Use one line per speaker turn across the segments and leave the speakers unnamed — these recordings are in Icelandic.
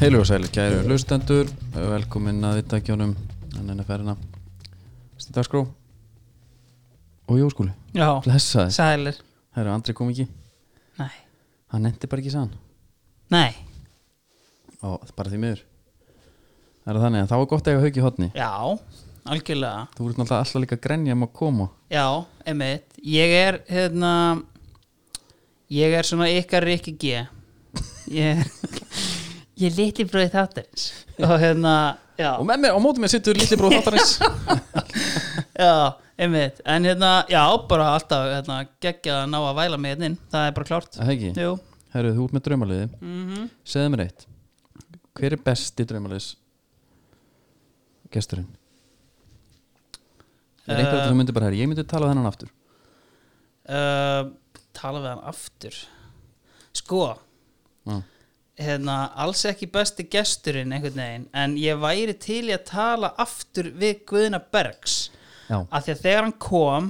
Heilu og sæli, kæru hlustendur, velkomin að þetta gjónum en enn að ferina Stíðarskró og Jóskúli,
Já,
blessaði
sælir
Það eru Andri kom ekki,
Nei,
hann endi bara ekki sann
nei,
og það er bara því miður Það er þannig að þá er gott að eiga haug í hotni
já, algjörlega
Þú ert náttúrulega alltaf líka að grenja um að koma
Já, einmitt Ég er, hérna Ég er svona ykkar Rikki G Ég er Ég er litli bróði þáttarins Og hérna, já
Og með mér, á móti mér sittur lítið bróð þáttarins
Já, einmitt En hérna, já, bara alltaf hérna, Gekkja að ná að væla mig hérna inn Það er bara klárt
Það ekki,
Jú,
herru þú út með draumaliði
mhm
Segðu mér eitt Hver er besti draumaliðs gesturinn? Er einhver
Eh,
að þú myndir bara, herru, ég myndi tala þennan aftur
uh, tala við hann aftur sko
Já.
hérna, alls ekki besti gesturinn einhvern veginn, en ég væri til í að tala aftur við Guðna Bergs
Já,
af því að þegar hann kom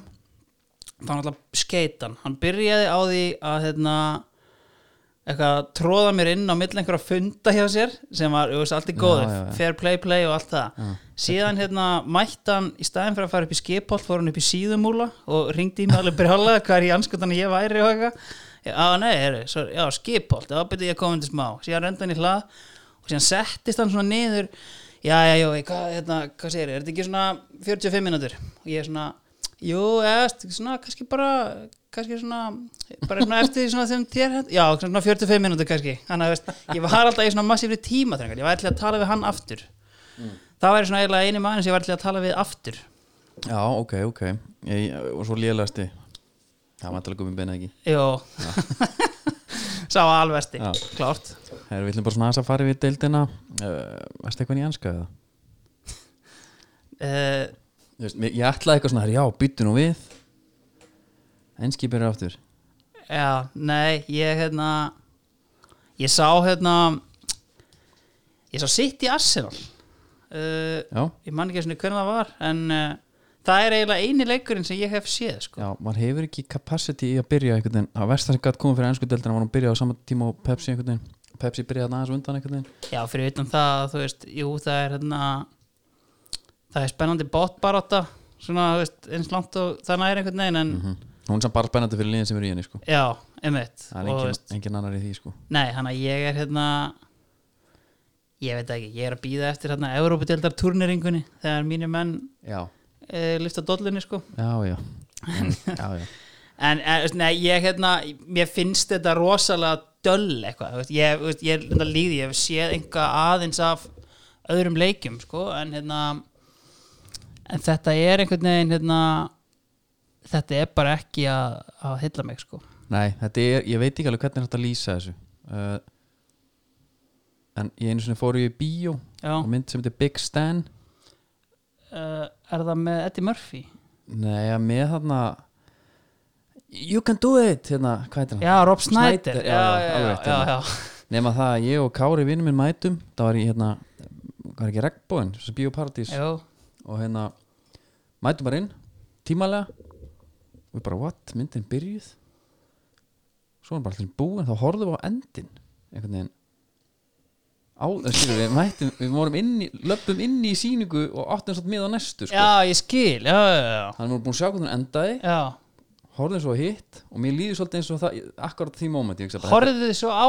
þá náttúrulega skeit hann hann byrjaði á því að hérna, eitthvað tróða mér inn á milli einhverja funda hjá sér sem var, þú veist, allt í
Já,
góður,
já, já.
fair play play og allt það
Já.
síðan hérna mætti hann í staðin fyrir að fara upp í skipolt, fór hann upp í síðumúla og ringdi í mig alveg brjálega hvað er í anskutan að ég væri og eitthvað já, nei, heru, svo, já, skipolt, já, byrja ég að koma undir smá síðan renda hann í hlað og síðan settist hann svona niður já, já, já, hvað, hérna, hvað segir er þetta ekki svona 45 mínútur og ég er svona, jú, eðast svona, kannski bara, kannski svona bara svona eftir því svona þeim þér hent- já, svona 45 mínútur kannski þannig að, veist, ég var alltaf í svona massífri tíma þrengar ég var alltaf að tala við hann aftur
Mm.
það væri svona eiginlega eini maður sem ég var alltaf að tala við aftur
já ok, ok ég, Og svo lélegasti Það var alltaf komið beina ekki
jú sá alvesti,
Já.
klárt
Herru, við ætlum bara svona aðeins að fara við deildina uh, Varstu eitthvað í enska eða?
uh,
Þú Veist, mér- ég ætlaði eitthvað svona, herru, já, byttu nú við Enski byrjar aftur
Já, nei, ég hérna ég sá hérna ég sá sitt í Arsenal uh,
Já,
ég man ekki svona hvernig það var en uh, það er eiginlega eini leikurinn sem ég hef séð sko.
já, maður hefur ekki capacity í að byrja einhvern veginn Það versta sem gætt komið fyrir ensku deildina var hún byrja á sama tíma og Pepsi einhvern veginn Pepsi byrjaði þarna aðeins á undan einhvern veginn
Já, fyrir utan það, þú veist, jú, það er hérna, það er spennandi bóttbarátta, svona, þú veist, eins langt og það næri einhvern veginn, en
Mhm. Hún er samt bara spennandi fyrir liðin sem eru í henni, sko
já, einmitt,
Það er
þú
engin,
veist,
engin annar í því, sko
nei, hann að ég er hérna, ég veit ekki, ég er að býða eftir hérna Európa-deildar turneringunni, þegar mínir menn
Já,
uh, lyfta dollunni, sko.
já, já Mm. Já, já,
En, en þú veist, nei, ég, hérna, mér finnst þetta rosalega döll eitthvað, þú veist, ég, þú veist, ég er hérna líði, ég hef séð einhvað aðeins af öðrum leikjum, sko, en hérna, en þetta er einhvern veginn, hérna, þetta er bara ekki að, að hylla mig, sko.
Nei, þetta er, ég veit ekki alveg hvernig þetta lýsa þessu uh, En ég einu sinni fóru í bíó
Já,
og mynd sem heitir Big Stan
uh, er það með Eddie Murphy?
Nei, að með þarna You can do it, hérna, hvað heitir hann?
Já, Rob
Snyder,
Snyder,
já, já,
já,
alveg
já,
rétt,
já,
hérna.
já.
Nema það að ég og Kári vinnum minn mætum Það var í, hérna, hvað er ekki, Regnbóin, þessi bíóparadís
Jú,
Og hérna, mætum bara inn, tímalega Og við bara, what, myndin byrjuð Svo var bara allir búin, þá horfðum við á endin Einhvern veginn Á, það skilur við, mættum, við vorum inn í, löpum inn í sýningu Og áttum satt með á næstu, sko
já, ég skil, já, já, já,
Þannig vorum búin að sjá hvernig hún endaði
já.
horfðum svo á hitt og mér líður svolítið eins og það akkurat því moment ég hugsa bara,
Horfðu þið svo á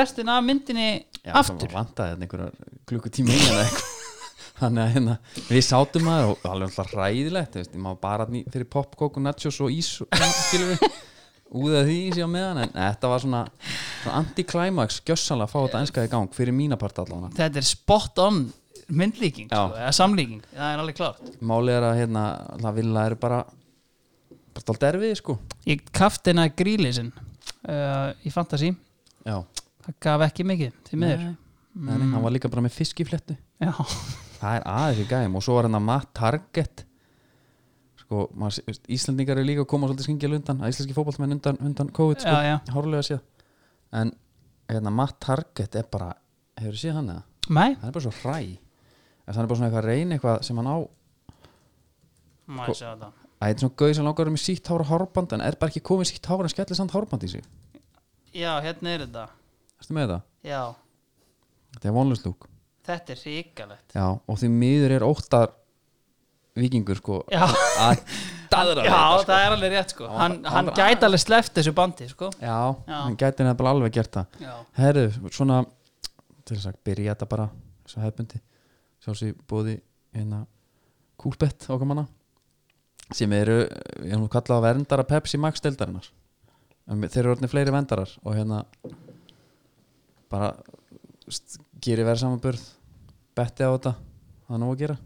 restina af myndinni
já,
aftur?
það vantaði þetta einhverja klukkutíma inn eða eitthvað þannig að hérna, við sátum að og alveg alltaf ræðilegt þú veist, ég má bara ný, fyrir popkók og nachos og ís og- skilur við út af því síðan meðan en þetta var svona, svona anti-climax gjössanlega að fá þetta enska í gang fyrir mína part allavega
þetta er spot on myndlíking,
Já.
sko, eða samlíking það er alveg klart
málið er að hérna, það vilja eru bara bara stált erfið sko
ég kafti hennar grílisinn uh, í Fantasí,
já,
það gaf ekki mikið til miður
Nei. Nei, nei, hann var líka bara með fiskiflettu
já,
það er aðeins í gæm og svo var hérna Matt Target sko, maður, sé- veist, Íslandingar eru líka að koma svolítið skingil undan að íslenski fótballmenn undan, undan COVID sko,
já, já.
hárlega séð en hérna Matt Target er bara hefur séð hann eða?
Mæ?
Hann er bara svo hræ en hann er bara svona eitthvað að reyna eitthvað sem hann á
Má ég sjá þetta
að þetta er svona gauð sem langar að vera með sítt hár og hárband en er bara ekki komið sítt hár en skellir samt hárband í sig
já, hérna er þetta
Erstu með það?
já,
þetta er vonlust lúk
Þetta er ríkalegt
já, og því miður er óttar vikingur sko
Já,
að daðra
já
þetta,
það er alveg rétt sko
Hann var-
Hann,
hann
hann
var-
gæti alveg sleppt þessu bandi sko
já,
Já.
hann gæti nefnilega alveg gert það
Já,
herðu, svona til þess að byrja þetta bara svo hefbundi sjálfsög bóði hérna kúlbett okkar manna sem eru, ég hann kallað verndara Pepsi Max deildarinnar en þeir eru orðinni fleiri verndarar og hérna bara st- gerir verð samanburð betti á þetta, það er nóg að gera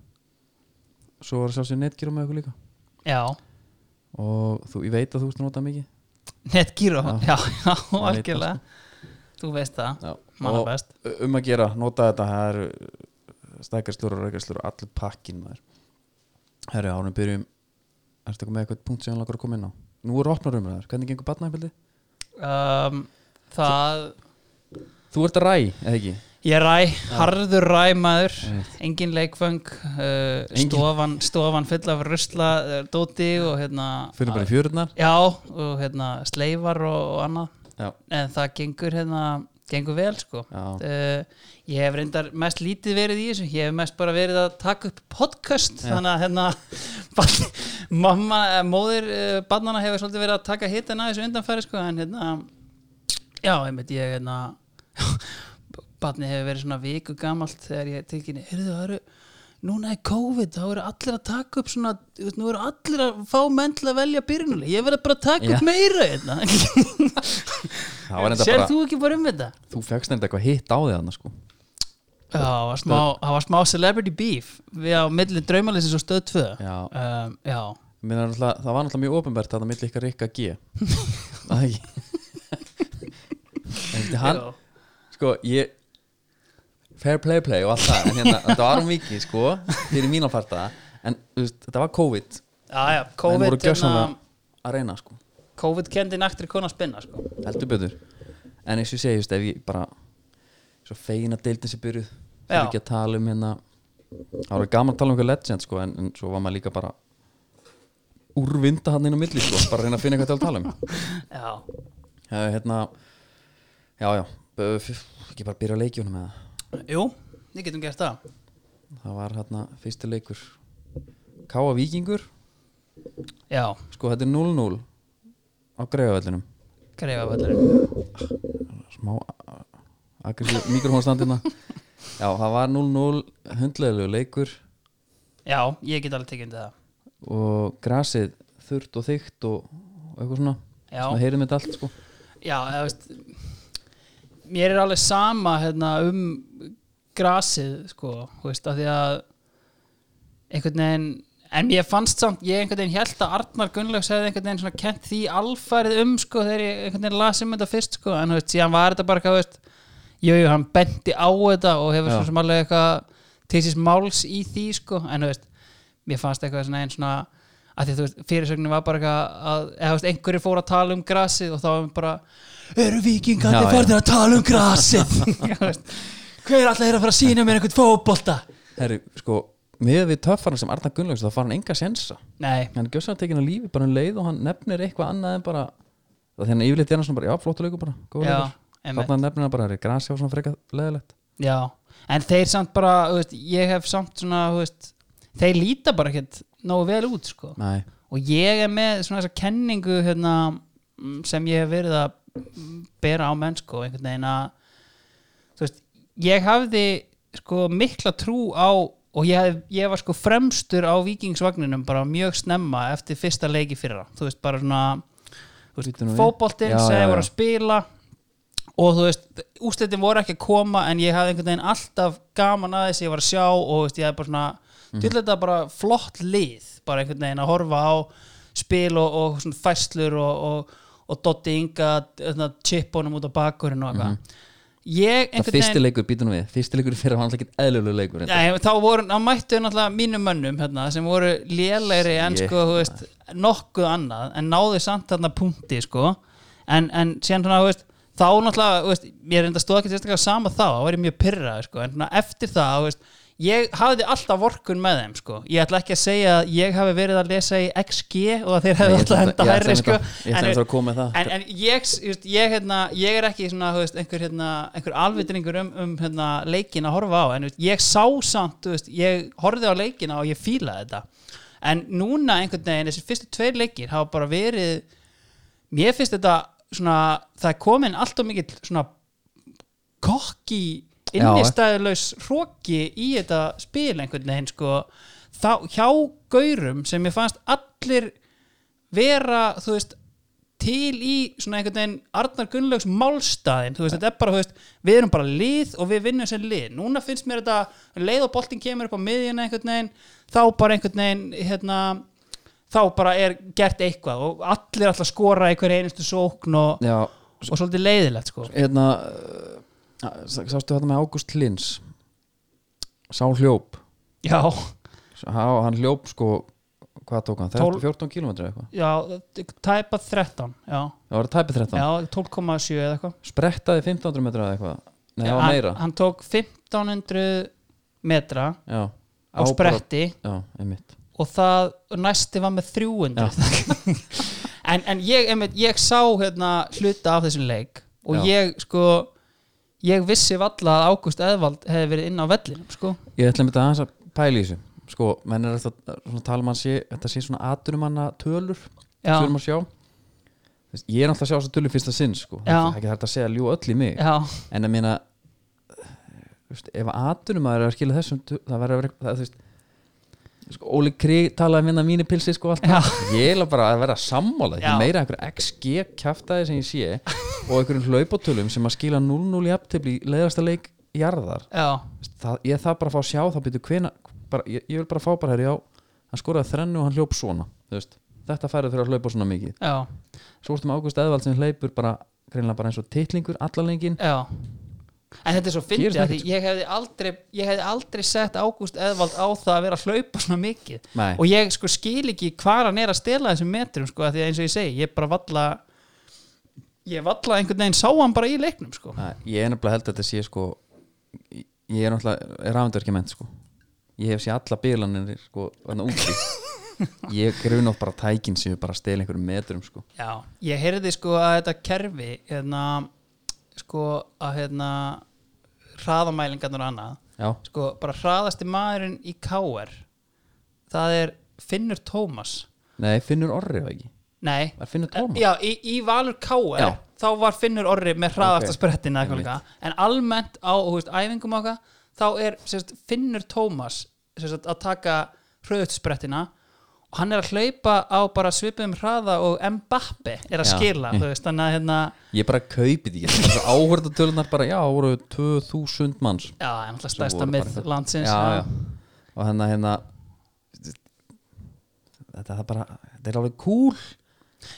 svo var sjálfsög netgjörum með okkur líka
já.
og þú, ég veit að þú ert að nota mikið
Netgyro, já,
Já.
já,
það,
algjörlega Þú veist það,
Já.
manna
Og-
best
um að gera, nota þetta það eru stækarslur og rækarslur og allir pakkin maður Herri, árum byrjum Ertu eitthvað með eitthvað punkt sem hann lakar að koma inn á? Nú eru opnar umræður, hvernig gengur batnaðinbildi?
um, Það
Þú ert að ræ, eða ekki?
Ég ræ, harður ræmaður
Einmitt.
engin leikföng uh,
Engin-
stofan, stofan full af rusla uh, dóti og hérna
Fyrir bara í fjörurnar?
Já, og hérna sleifar og, og annað
Já,
en það gengur hérna gengur vel sko
já,
uh, Ég hef reyndar mest lítið verið í þessu ég hef mest bara verið að taka upp podcast
Já.
þannig að hérna barn- mamma, eh, móðir uh, barnana hefur svolítið verið að taka hitin að þessu undanfæri sko en hérna já, einmitt ég hérna barnið hefur verið svona viku gamalt þegar ég tilkynni, heyrðu það eru núna er COVID, þá eru allir að taka upp svona, þú veist, nú eru allir að fá menn til að velja byrjunuleg, ég verið bara að taka
Já.
upp meira hérna
það var enda
Sér
bara
þú ekki bara um þetta?
Þú fegst enda eitthvað hitt á þig annars sko
Já, það var smá, það var smá celebrity beef við á milli draumalysins og stöð 2
Já,
um, já.
Mér er náttúrulega- það var náttúrulega mjög ofinbært þetta milli ykkar Rikka G Það ekki En þetta hann,
já
sko, ég fair play play og allt það en hérna, þetta var um viki, sko fyrir mína parta, en þú veist, þetta var COVID
Já, já,
en voru
COVID,
gjössanlega
hérna,
að reyna, sko,
COVID kendi naktri konu að spinna sko.
heldur betur en eins og ég segi, þú veist, ef ég bara svo fegin að deildin sér byrjuð fyrir
Já.
ekki að tala um hérna það var gaman að tala um einhver legend, sko en, en svo var maður líka bara úrvinda hann inn á milli, sko, bara að reyna að finna eitthvað til að tala um
Já,
Eh, hérna, já, já bö- f- ekki bara byrja á leikjónum eða
jú, við getum gert það
það var hérna fyrsti leikur Káa Víkingur
Já,
sko þetta er 0-0 á greiðavellinum
greiða völlurinn
smá aggressív mikrofónstandina hérna. já það var 0-0 hundlegalegu leikur
Já, ég get alveg tekið undir það
og grasið þurrt og þykkt og, og eitthvað svona
Já.
svona heyrið mitt allt sko
Já, eða veist Mér er alveg sama hérna, um grasið sko, þú veist, af því að einhvern veginn en mér fannst samt, ég einhvern veginn held að Arnar Gunnlaugs hefði einhvern veginn svona kent því alfærið um sko þegar ég einhvern veginn las um þetta fyrst sko, en þú veist, síðan var þetta bara eitthvað, þú veist, jú, jú, hann benti á þetta og hefur
Já.
svo sem alveg eitthvað til síns máls í því sko, en þú veist, mér fannst eitthvað svona einn svona að því þú veist, fyrirsögnin var bara eitthvað að, eða þú veist, einhverju fór að tala um grasið og þá var bara, eru
Já,
vikingandi
já.
farnir að tala um grasið Já, þú veist, hver alltaf er að fara að sína mér einhvern fótbolta
herri sko með við töffarna sem Arna Gunnlaugs þá fara hann enga sensa
nei,
hann gjössan að tekina lífi bara um leið og hann nefnir eitthvað annað en bara það þannig að yfirleitt er hann svona bara já flottu leikur bara góður
já,
leikur.
einmitt.
þarna nefnir hann bara herri grasið var svona freka leðilegt
já en þeir samt bara, þú veist, ég hef samt svona, þú veist, þeir líta bara ekkert nógu vel út, sko
nei
og ég er með svona þessa kenningu hérna, mm, sem ég hef verið að mm, bera á menn sko einhvern veginn að þú veist, ég hafði sko mikla trú á og ég, hef, ég var sko fremstur á vikingsvagninum bara mjög snemma eftir fyrsta leiki fyrra, þú veist bara svona þú veist,
Bíddu nú við.
fótboltinn
Já,
sem
já,
ég voru
já.
að spila og þú veist, úslitin voru ekki að koma en ég hafði einhvern veginn alltaf gaman að þess ég var að sjá og þú veist, ég hafði bara svona
Mhm.
mm. til þetta bara flott lið bara einhvern veginn að horfa á spil og, og svona fæslur og, og, og Dotti Inga þarna, chipunum út á bakurinn og eitthvað ég
Mhm. Það
einhvern
fyrsti
veginn
leikur býtum við Fyrsti leikur fyrir var alltaf ekki eðlulegu leikur reyndar.
Nei, þá voru, þá mættu náttúrulega mínum mönnum hérna, sem voru lélegri en
Shit,
sko, þú veist, nokkuð annað en náðu samt þarna punkti sko. en, en síðan svona, þú veist þá náttúrulega, þú veist, ég reynda stóð ekki sérstaklega sama þá, þá var ég mjög pyrrað sko. en svona, eftir það, þú veist, ég hafði alltaf vorkun með þeim sko. ég ætla ekki að segja að ég hafi verið að lesa í XG og að þeir hefði alltaf henda hærri sko.
Ég ætla
En-
að að koma með það
en, en ég, ég, ég, hérna, ég er ekki svona, þú veist, einhver, hérna, einhver alvitringur um, um hérna, leikin að horfa á en þú veist, ég sá samt, þú veist, ég horfði á leikina og ég fílaði þetta en núna einhvern veginn, þessi fyrstu tveir leikir hafa bara verið mér finnst þetta svona, það er komin allt og mikill svona kokki
Já.
innistæðulaus hróki í þetta spil einhvern veginn sko þá, hjá gaurum sem ég fannst allir vera þú veist til í svona einhvern veginn Arnar Gunnlaugs málstæðin, þú veist, þetta er bara, þú veist við erum bara lið og við vinnum sem lið núna finnst mér þetta, leið og boltinn kemur upp á miðjuna einhvern veginn, þá bara einhvern veginn hérna, þá bara er gert eitthvað og allir alltaf skora einhver einustu sókn og,
Já,
og svolítið leiðilegt sko
hérna uh, Sástu þetta með Ágúst Lins Sá hljóp
já,
Sá- Hann hljóp sko Hvað tók hann? 13, 14 km eitthvað
já, tæpa 13 já,
Það var tæpi 13
já 12,7 eða eitthvað
Sprettaði 1500 metra eða eitthvað Nei, það var
Hann-
meira
hann tók 1500 metra
Já
á
bara-
spretti
Já, einmitt
og það næsti var með 300 en, en ég, einmitt, ég sá hérna, hluta af þessum leik og
Já.
ég sko ég vissi valla að Ágúst Eðvald hefði verið inn á vellinum sko.
Ég ætla einmitt aðeins að pæla í þessu Sko, menn er alltaf svona tala mann sé Þetta sé svona aturumanna tölur
já,
Tölum að sjá Þess- Ég er náttúrulega að sjá þessa tölur fyrsta sinn sko
Já.
Það er ekki hægt að segja ljú öll í mig
já,
en að meina þú veist, ef aðtunum að er að skila þessum tu- það verður að vera eitthvað það, þú veist, sko, Óli Krig talaði minna mínu pilsi sko allt
Já.
það. ég er bara að vera sammála ég
Já.
er meira einhver XG kjaftaði sem ég sé og einhverjum hlaupatölum sem að skila 0-0 í aftifli í leiðasta leik jarðar
já,
Þú veist, það, ég þarf bara að fá að sjá það byrju hvena bara, ég, ég vil bara fá bara hér já hann skoraði þrennu og hann hljóp svona þú veist, þetta færið fyrir að hlaupa svona mikið
já,
svo ertum Ágúst Eðvald sem hleypur bara, greinilega bara eins og titlingur allalengin
já en þetta er svo
Gerist
fyndið af því
ekkert.
ég hefði aldrei, ég hefði aldrei sett Ágúst Eðvald á það að vera að hlaupa svona mikið
Nei.
og ég sko skil ekki hvað hann er að stela þessum metrum sko, af því að eins og ég segi, ég bara valla ég valla einhvern veginn sá hann bara í leiknum sko.
Nei, ég er nefnilega held að þetta sé sko ég- ég er náttúrulega rafendurkjament sko ég hef sé alla bílanir sko þarna úti ég grun of bara tækin sem við bara stel einhverjum metrum sko
Já, ég heyrði sko að þetta kerfi hérna, sko að hérna hraðamælingarnar og annað
já,
sko bara hraðasti maðurinn í KR það er Finnur Tómas
nei finnur orri var ekki
Nei,
var finnur tóma
já, í, í Valur KR
Já.
þá var Finnur Orri með hraðasta
Ok.
okay. sprettina eða eitthvað líka. en almennt á þú veist, æfingum okkar þá er sérst, Finnur Tómas sérst, að taka hröðut sprettina og hann er að hlaupa á bara svipum hraða og Mbappe er að
Já. Mm.
skila þú veist, þannig að hérna
ég bara kaupi því áhörða tölunar bara já, voru 2000 manns
já, það er náttúrulega
sem voru
stærsta
bara
mið
eitthvað-
landsins
já, já. og hérna hérna þetta er bara þetta er alveg cool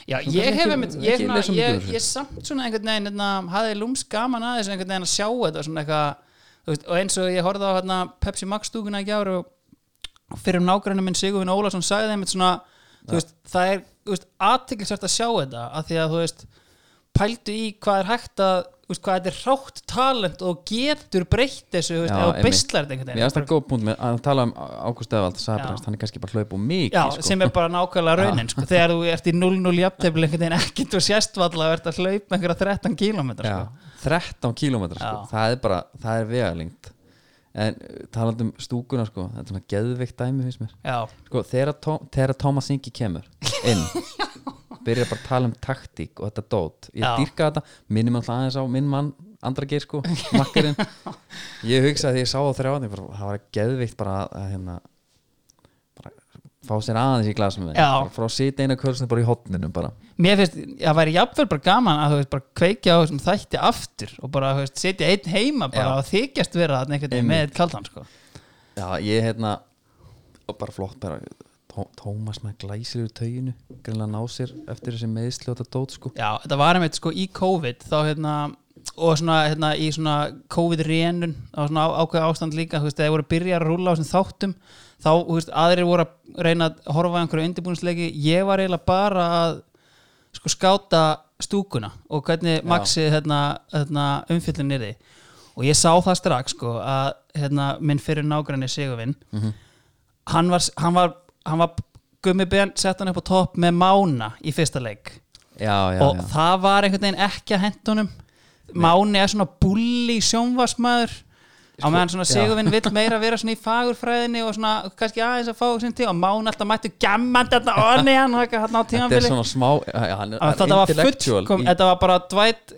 Já,
Þú
ég
kannski
hef
ekki-
einmitt,
ekki
ég, svona,
lesa mikið um
ég,
þessu.
ég samt svona einhvern veginn hérna, hafði lúms gaman að þessu einhvern veginn að sjá þetta svona eitthvað, þú veist, og eins og ég horfði á hérna, Pepsi Max stúkuna ekki ára og fyrir um nágrænum minn Sigurvin Ólafsson sagði þeim svona, þú veist, það er þú veist, athyglisvært að sjá þetta af því að þú veist, pældu í hvað er hægt að, þú veist, hvað þetta er rátt talent og getur breytt þessu, þú veist,
Já,
eða
einmitt.
beislar þetta
Mér
einhvern
finnst það góð punkt með að tala um Ágúst Eðvald
Já.
Sæbrans, hann er kannski bara hlaup og mikið
Já,
sko.
sem er bara nákvæmlega raunin sko. þegar þú ert í 0-0 jafntefli einhvern veginn ekkert og sérst valla og ert að hlaupa einhverja 13 km sko.
Já, 13 kílómetra sko.
Já.
það er bara, það er vegalengt en uh, talandi um stúkuna sko, þetta er svona geðveikt dæmi finnst mér
Já,
sko, þegar, Tó- þegar Thomas Ingi kemur inn byrja bara að tala um taktík og þetta dót ég
Já.
dýrka þetta, minnum alltaf aðeins á minn mann andra geir sko, makkarinn ég hugsa að ég sá á þrjáðan bara, það var geðveikt bara að, að hérna bara fá sér aðeins í glasum
Já.
frá að sita eina kvölsni bara í hotninum bara
mér finnst, það væri jafnvel bara gaman að þú veist, bara kveikja á þessum þætti aftur og bara, þú veist, setja einn heima
Já.
bara og þykjast vera þarna einhvern veginn með eitt kaldan, sko
Já, ég hérna og bara flott bara Tó- Tómas með glæsir úr tauginu greinlega ná sér eftir þessi meðsli og þetta dót sko
Já, þetta var einmitt sko í COVID þá hérna og svona hérna í svona COVID-rénun á svona á- ákveða ástand líka þú veist, þegar voru að byrja að rúla á þessum þáttum þá, þú veist, aðrir voru að reyna að horfa að einhverju undirbúinsleiki, ég var eiginlega bara að sko skáta stúkuna og hvernig Maxi hérna, hérna umfyllin er því og ég sá það strax sko, að hérna, minn fyrir nágranni Sigurvin hann var, hann var, hann var gummi ben sett hann upp á topp með Mána í fyrsta leik
já, já, já.
og það var einhvern veginn ekki að hendunum Máni er svona bulli sjónvarsmaður á meðan svona
Sko, já.
Sigurvinn vill meira vera svona í fagurfræðinni og svona kannski aðeins að fá sinni til og Máni alltaf mættu gammand þarna onni hann og eitthvað þarna á
þetta er
tímanbili
svona smá já, hann er-
Að
hann
þetta
er
var
intellectual
fullkom,
í-
þetta var bara Dwight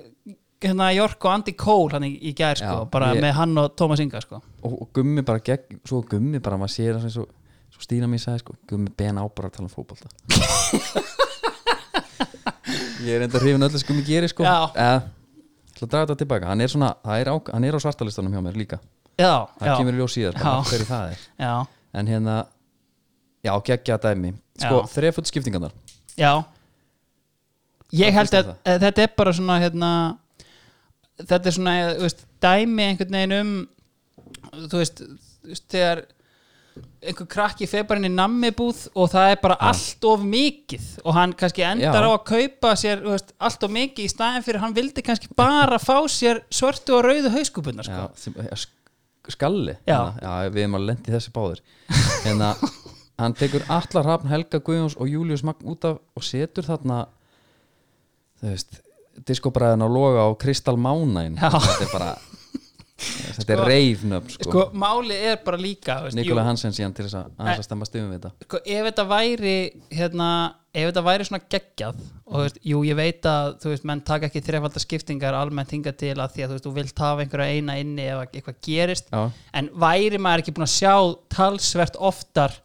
hérna Jork og Andy Cole hann í, í gær sko,
Já,
bara
ég-
með hann og Thomas Inga sko
og, og gummi bara gegn, svo gummi bara maður sér það sem svo, svo Stína mér sagði sko, gummi ben á bara að tala um fótbolta ég er enda hrifin öllu sem gummi gerir sko
Já.
eða, ætla að draga þetta tilbaka hann er svona, það er á, hann er á svartalistanum hjá mér líka
Já,
það
já,
kemur í ljós síðar,
Já.
bara af hverju það er
já,
en hérna, já, geggja dæmi sko, þrefutt skiptingarnar
já Ég
Hvað
held
finnst
að,
þér
að þetta er bara svona hérna, þetta er svona þú veist, dæmi einhvern veginn um þú veist, þú veist þegar einhver krakki fer bara inn í nammibúð og það er bara allt of mikið og hann kannski endar
Já.
á að kaupa sér þú veist, allt of mikið í staðin fyrir hann vildi kannski bara fá sér svörtu og rauðu hauskúpunar sko.
já, sem, ja, sk- skalli
Já.
Hérna, já, við erum að lendi þessi báðir en að hann tekur allar Rafn Helga Guðjóns og Július Magn út af og setur þarna þú veist, diskobræðin á loga og Kristal Mánain
Já.
þetta er bara þetta er reifnöfn sko,
sko, málið er bara líka þú veist, jú,
Nikola Hansen síðan til þess að, aðeins að stemma stifum við þetta
sko, ef þetta væri hérna, ef þetta væri svona geggjað og þú veist, jú, ég veit að þú veist, menn taka ekki þrefaldar skiptingar almennt hinga til að því að þú veist, þú vilt hafa einhverja eina inni ef að eitthvað gerist
Já.
en væri maður ekki búin að sjá talsvert oftar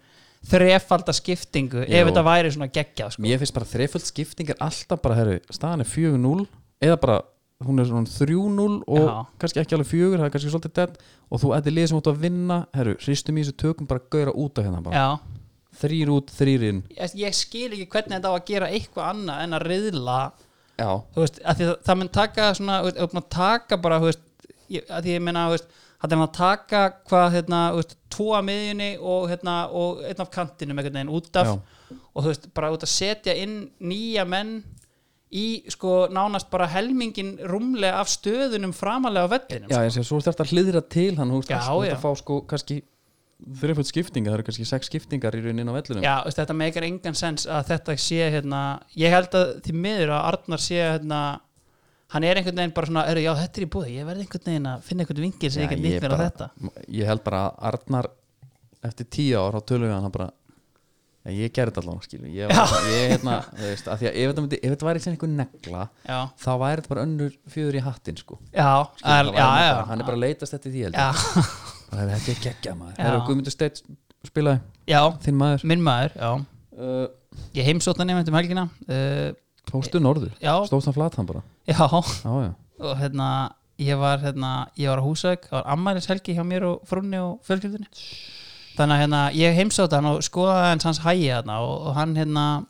þrefaldar skiptingu
Jú.
ef þetta væri svona geggjað sko.
mér finnst bara þreföld skipting er alltaf bara herru, staðan er 4-0 eða bara hún er svona 3-0 og
Já.
kannski ekki alveg 4 það er kannski svolítið dead og þú ætti lið sem út að vinna herru, hristum í þessu tökum bara gauðra út af hérna bara.
Já.
þrýr út, þrýr inn
Ég, ég skil ekki hvernig þetta á að gera eitthvað annað en að riðla
já,
þú veist, að því það, það mun taka svona, þú veist, þú mun taka bara, þú veist ég, að því ég meina, þú veist, það er hann að taka hvað, hérna, þú veist, tvo að miðjunni og hérna, og einn af kantinum einhvern veginn út af, og þú veist, bara út að setja inn nýja menn í, sko, nánast bara helmingin rúmlega af stöðunum framalega á vellinum, sko.
já ég sé, svo þarf þetta að hliðra til hann, hún
Já,
þarf
já.
að fá sko kannski þreföld skiptinga, það eru kannski sex skiptingar í rauninni á vellunum
Já, veist, þetta meikar engan sens að þetta sé hérna, ég held að því miður að Arnar sé hérna hann er einhvern veginn bara svona, "Heyrðu, já þetta er í búði ég verð einhvern veginn að finna einhvern vingil sem ég get nýtt mér á
bara,
þetta
ég held bara að Arnar eftir tíu ár á tölum við hann hann bara "Nei, ég gerði þetta allan skilur ég, var bara- ég hérna, þú veist, að því að ef þetta, myndi, ef þetta væri sem einhver negla
Já,
þá væri þetta bara önnur fjöður í hattinn sko
já,
Skilur,
er,
það væri
já,
hann
já,
bara- um hann er bara að leitast eftir því held
já,
ég bara þetta er geggja maður
Já.
það eru Guðmundur Steinn spilaði,
já,
þinn maður
minn maður já.
uh,
ég heimsótt hann einmitt um helgina uh,
fórstu norður,
já,
stóðst hann flatan bara
já
já, já,
og hérna ég var, hérna, ég var á húsauk það var ammælis helgi hjá mér og frunni og fjölskyldunni þannig að hérna, ég heimsótt hann og skoðaði hans hans hægi hérna og, og hann hérna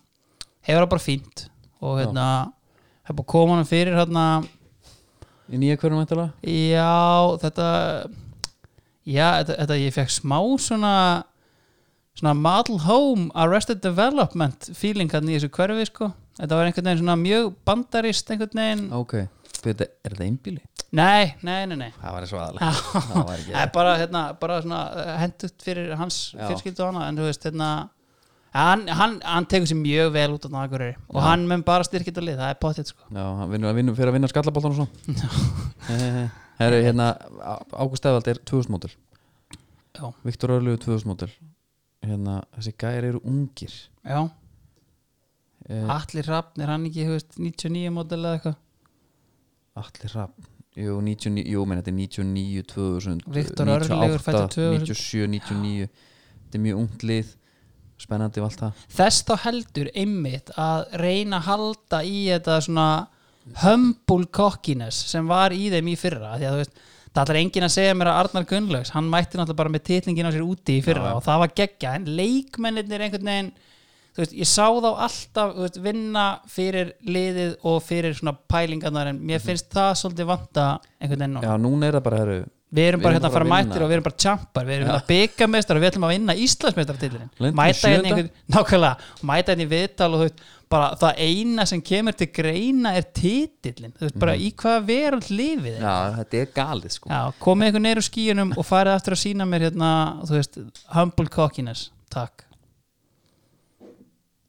hefur það bara fínt og hérna hefur búið að koma hann fyrir hérna
í nýja hverjum væntalega
Já, þetta Já, þetta, þetta ég fekk smá svona svona model home arrested development feeling hann í þessu hverfi sko Þetta var einhvern veginn svona mjög bandarist einhvern veginn
ok, þetta, er þetta einbíli?
Nei, nei, nei, nei
það var svo aðalega það var
Það
ekki
er bara, hérna, bara svona eh, hendugt fyrir hans
Já.
fjölskyldu og hana en þú veist, hérna hann, hann, hann tekur sér mjög vel út á nákvæmri og hann mun bara styrkja þetta lið, það er potið sko
Já, hann vinnur að vinna, fyrir að vinna skallaboltan og svona Eh, Herru, hérna Ágúst Eðvald er 2000 mótil
Já,
Viktor Örlögu 2000 mótil Hérna, þessi gæri eru ungir
já,
eh,
allir rafnir hann ekki, þú veist, 99 model eða eitthvað
Allir Rapp Jú, 99, jú, menn þetta er 99, 2000
Viktor Örlygur fæddur 2000.
97, 99 Þetta er mjög ungt lið Spennandi og allt það
þess þá heldur einmitt að reyna að halda í þetta svona humble cockiness sem var í þeim í fyrra því að þú veist, það ætlar enginn að segja mér að Arnar Gunnlaugs, hann mætti náttúrulega bara með titlingin á sér úti í fyrra og það var geggja en leikmennirnir einhvern veginn þú veist, ég sá þá alltaf þú veist, vinna fyrir liðið og fyrir svona pælingarnar en mér finnst það svolítið vanta einhvern veginn núna.
Já, núna er það bara, herru
við
Við
erum bara
erum
hérna að fara
bara að
mættir
vinna.
og við erum bara tjampar við erum hérna byggamestrar og við ætlum að vinna Íslandsmestartitlin
Lentum
mæta
sjöunda.
hérna í einhver, nákvæmlega mæta hérna í viðtal og þú veist bara það eina sem kemur til greina er titillin þú veist
Mm.
bara í hvaða veröld lifið er
Já, þetta er galið sko
já, komið ykkur neyru skíunum og farið aftur að sína mér hérna, þú veist, humble cockiness takk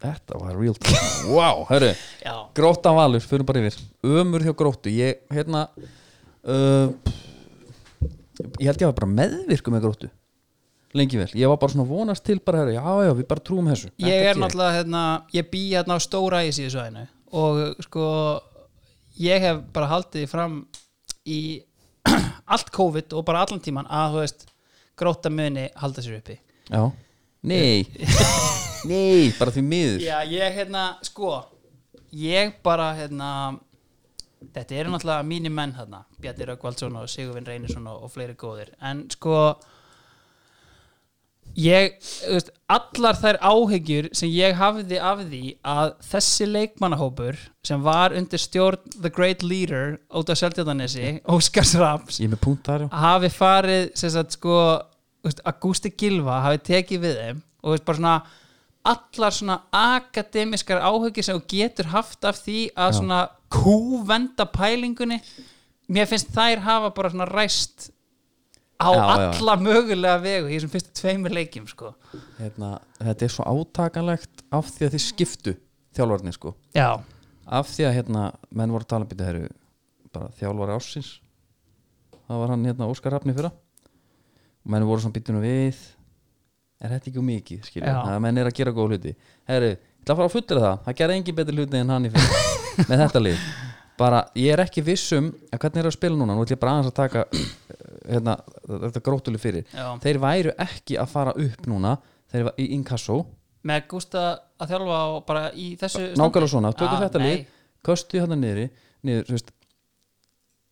Þetta var real time Wow, hörru
já,
Gróttan valur, fyrir bara yfir Ömur hjá gróttu Ég, hérna uh, Ég held ég var bara meðvirku með gróttu Lengi vel Ég var bara svona að vonast til bara herri, Já, já, við bara trúum þessu
ég
Þetta
er náttúrulega hérna, ég bý hérna á stóra í síðsvæðinu og sko ég hef bara haldið því fram í allt COVID og bara allan tíman að þú veist gróta muni halda sér uppi
Já Nei Nei, bara því miður
Já, ég hérna, sko ég bara hérna þetta eru náttúrulega mínir menn hérna Bjarni Rökkvaldsson og Sigurvin Reynisson og, og fleiri góðir, en sko ég, þú veist, allar þær áhyggjur sem ég hafði af því að þessi leikmannahópur sem var undir stjórn The Great Leader út af Seldjöldanesi, Óskars Raps
Ég er með punkt þar já
hafi farið sem sagt sko þú veist, Augusti Gilva hafi tekið við þeim og þú veist, bara svona allar svona akademiskar áhugir sem þú getur haft af því að svona kúvenda pælingunni mér finnst þær hafa bara svona ræst á
Já, já.
alla mögulega vegu í þessum fyrstu tveimur leikjum sko
hérna, Þetta er svo átakanlegt Af því að þið skiptu þjálfarnir sko
já,
Af því að hérna Menn voru að tala um býta herru Bara þjálfari ársins Það var hann hérna Óskar Rafni fyrra Og menn voru svona býtunum við Er þetta ekki um mikið skilja
Já.
Það menn er að gera góð hluti Herru, ég ætla að fara að fullera það Það gerði engin betur hluti en hann í fyrra Með þetta lið Bara, ég er ekki viss um að hvernig er að spila núna Nú ætla ég bara aðeins að taka eh, hérna, Þetta gróttuli fyrir
Já.
Þeir væru ekki að fara upp núna Þeir var í inkasso
með Augusta að þjálfa og bara í þessu
nákvæmlega svona, tökum
Ah,
þetta
nei.
lið köstu hérna niður, niður þú veist,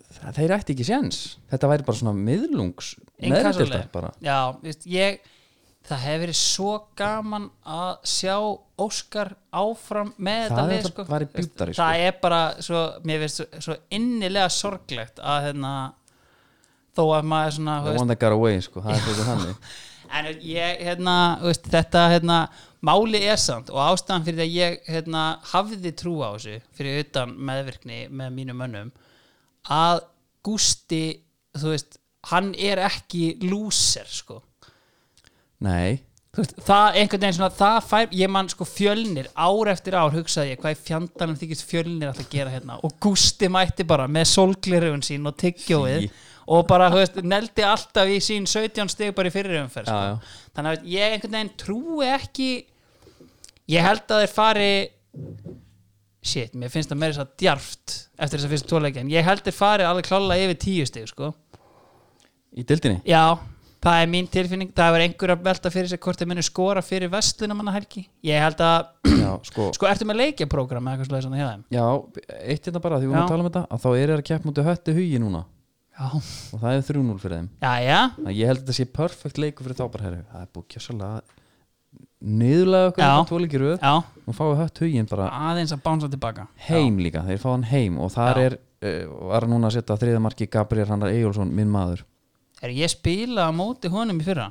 það, þeir ætti ekki séns þetta væri bara svona miðlungs
Inkasso-leið.
neðrdeildar bara
Já, veist, ég það hefur verið svo gaman að sjá Óskar áfram með
Það
þetta
er
lið
það-
sko.
væri bjútari, sko.
Það er bara svo, mér finnst svo, svo innilega sorglegt að hérna, þó að maður svona, þú
the
veist,
one that got away sko, það er þetta þannig
en ég hérna, þú veist, þetta hérna, máli er samt og ástæðan fyrir því að ég hérna, hafði trú á þessu fyrir utan meðvirkni með mínum mönnum að Gústi þú veist, hann er ekki lúser sko
nei,
Þú veist, það einhvern veginn svona það fær, ég man sko fjölnir ár eftir ár hugsaði ég hvað í fjandanum þykist fjölnir alltaf að gera hérna og Gústi mætti bara með solglerugun sín og tyggjóið
Sí.
og bara, þú veist, neldi alltaf í sín 17 stig bara í fyrirumferð sko.
Já, já.
þannig að ég einhvern veginn trúi ekki ég held að þeir fari shit, mér finnst það meira svo djarft eftir þess að fyrstu tóleikja, en ég held þeir fari alveg klála yfir 10 stig, sko
í dildinni
Já, það er mín tilfinning Það er einhver að velta fyrir sig hvort þeir muni skora fyrir vestluna manna helgi Ég held að,
já, sko,
sko, ertu með leikjaprógram eða eitthvað svolítið svona hjá þeim?
já, eitt hérna bara því við
Já.
erum að tala um þetta, að þá er það að keppa mútið hötti hugi núna
Já,
og það er 3-0 fyrir þeim
já, já,
Þannig að ég held að þetta sé perfect leiku fyrir þá bara herri, það er búið kjössalega niðurlega okkur
Já.
þetta tvoleiki röð
já
og fáið hött hugin bara
aðeins að bánsa tilbaka
heim líka, þeir fá hann heim og þar
Já.
er, uh, var núna að setja þriðamarki Gabriel Hannar Eyjólfsson, minn maður
Er ég spila á móti honum í fyrra?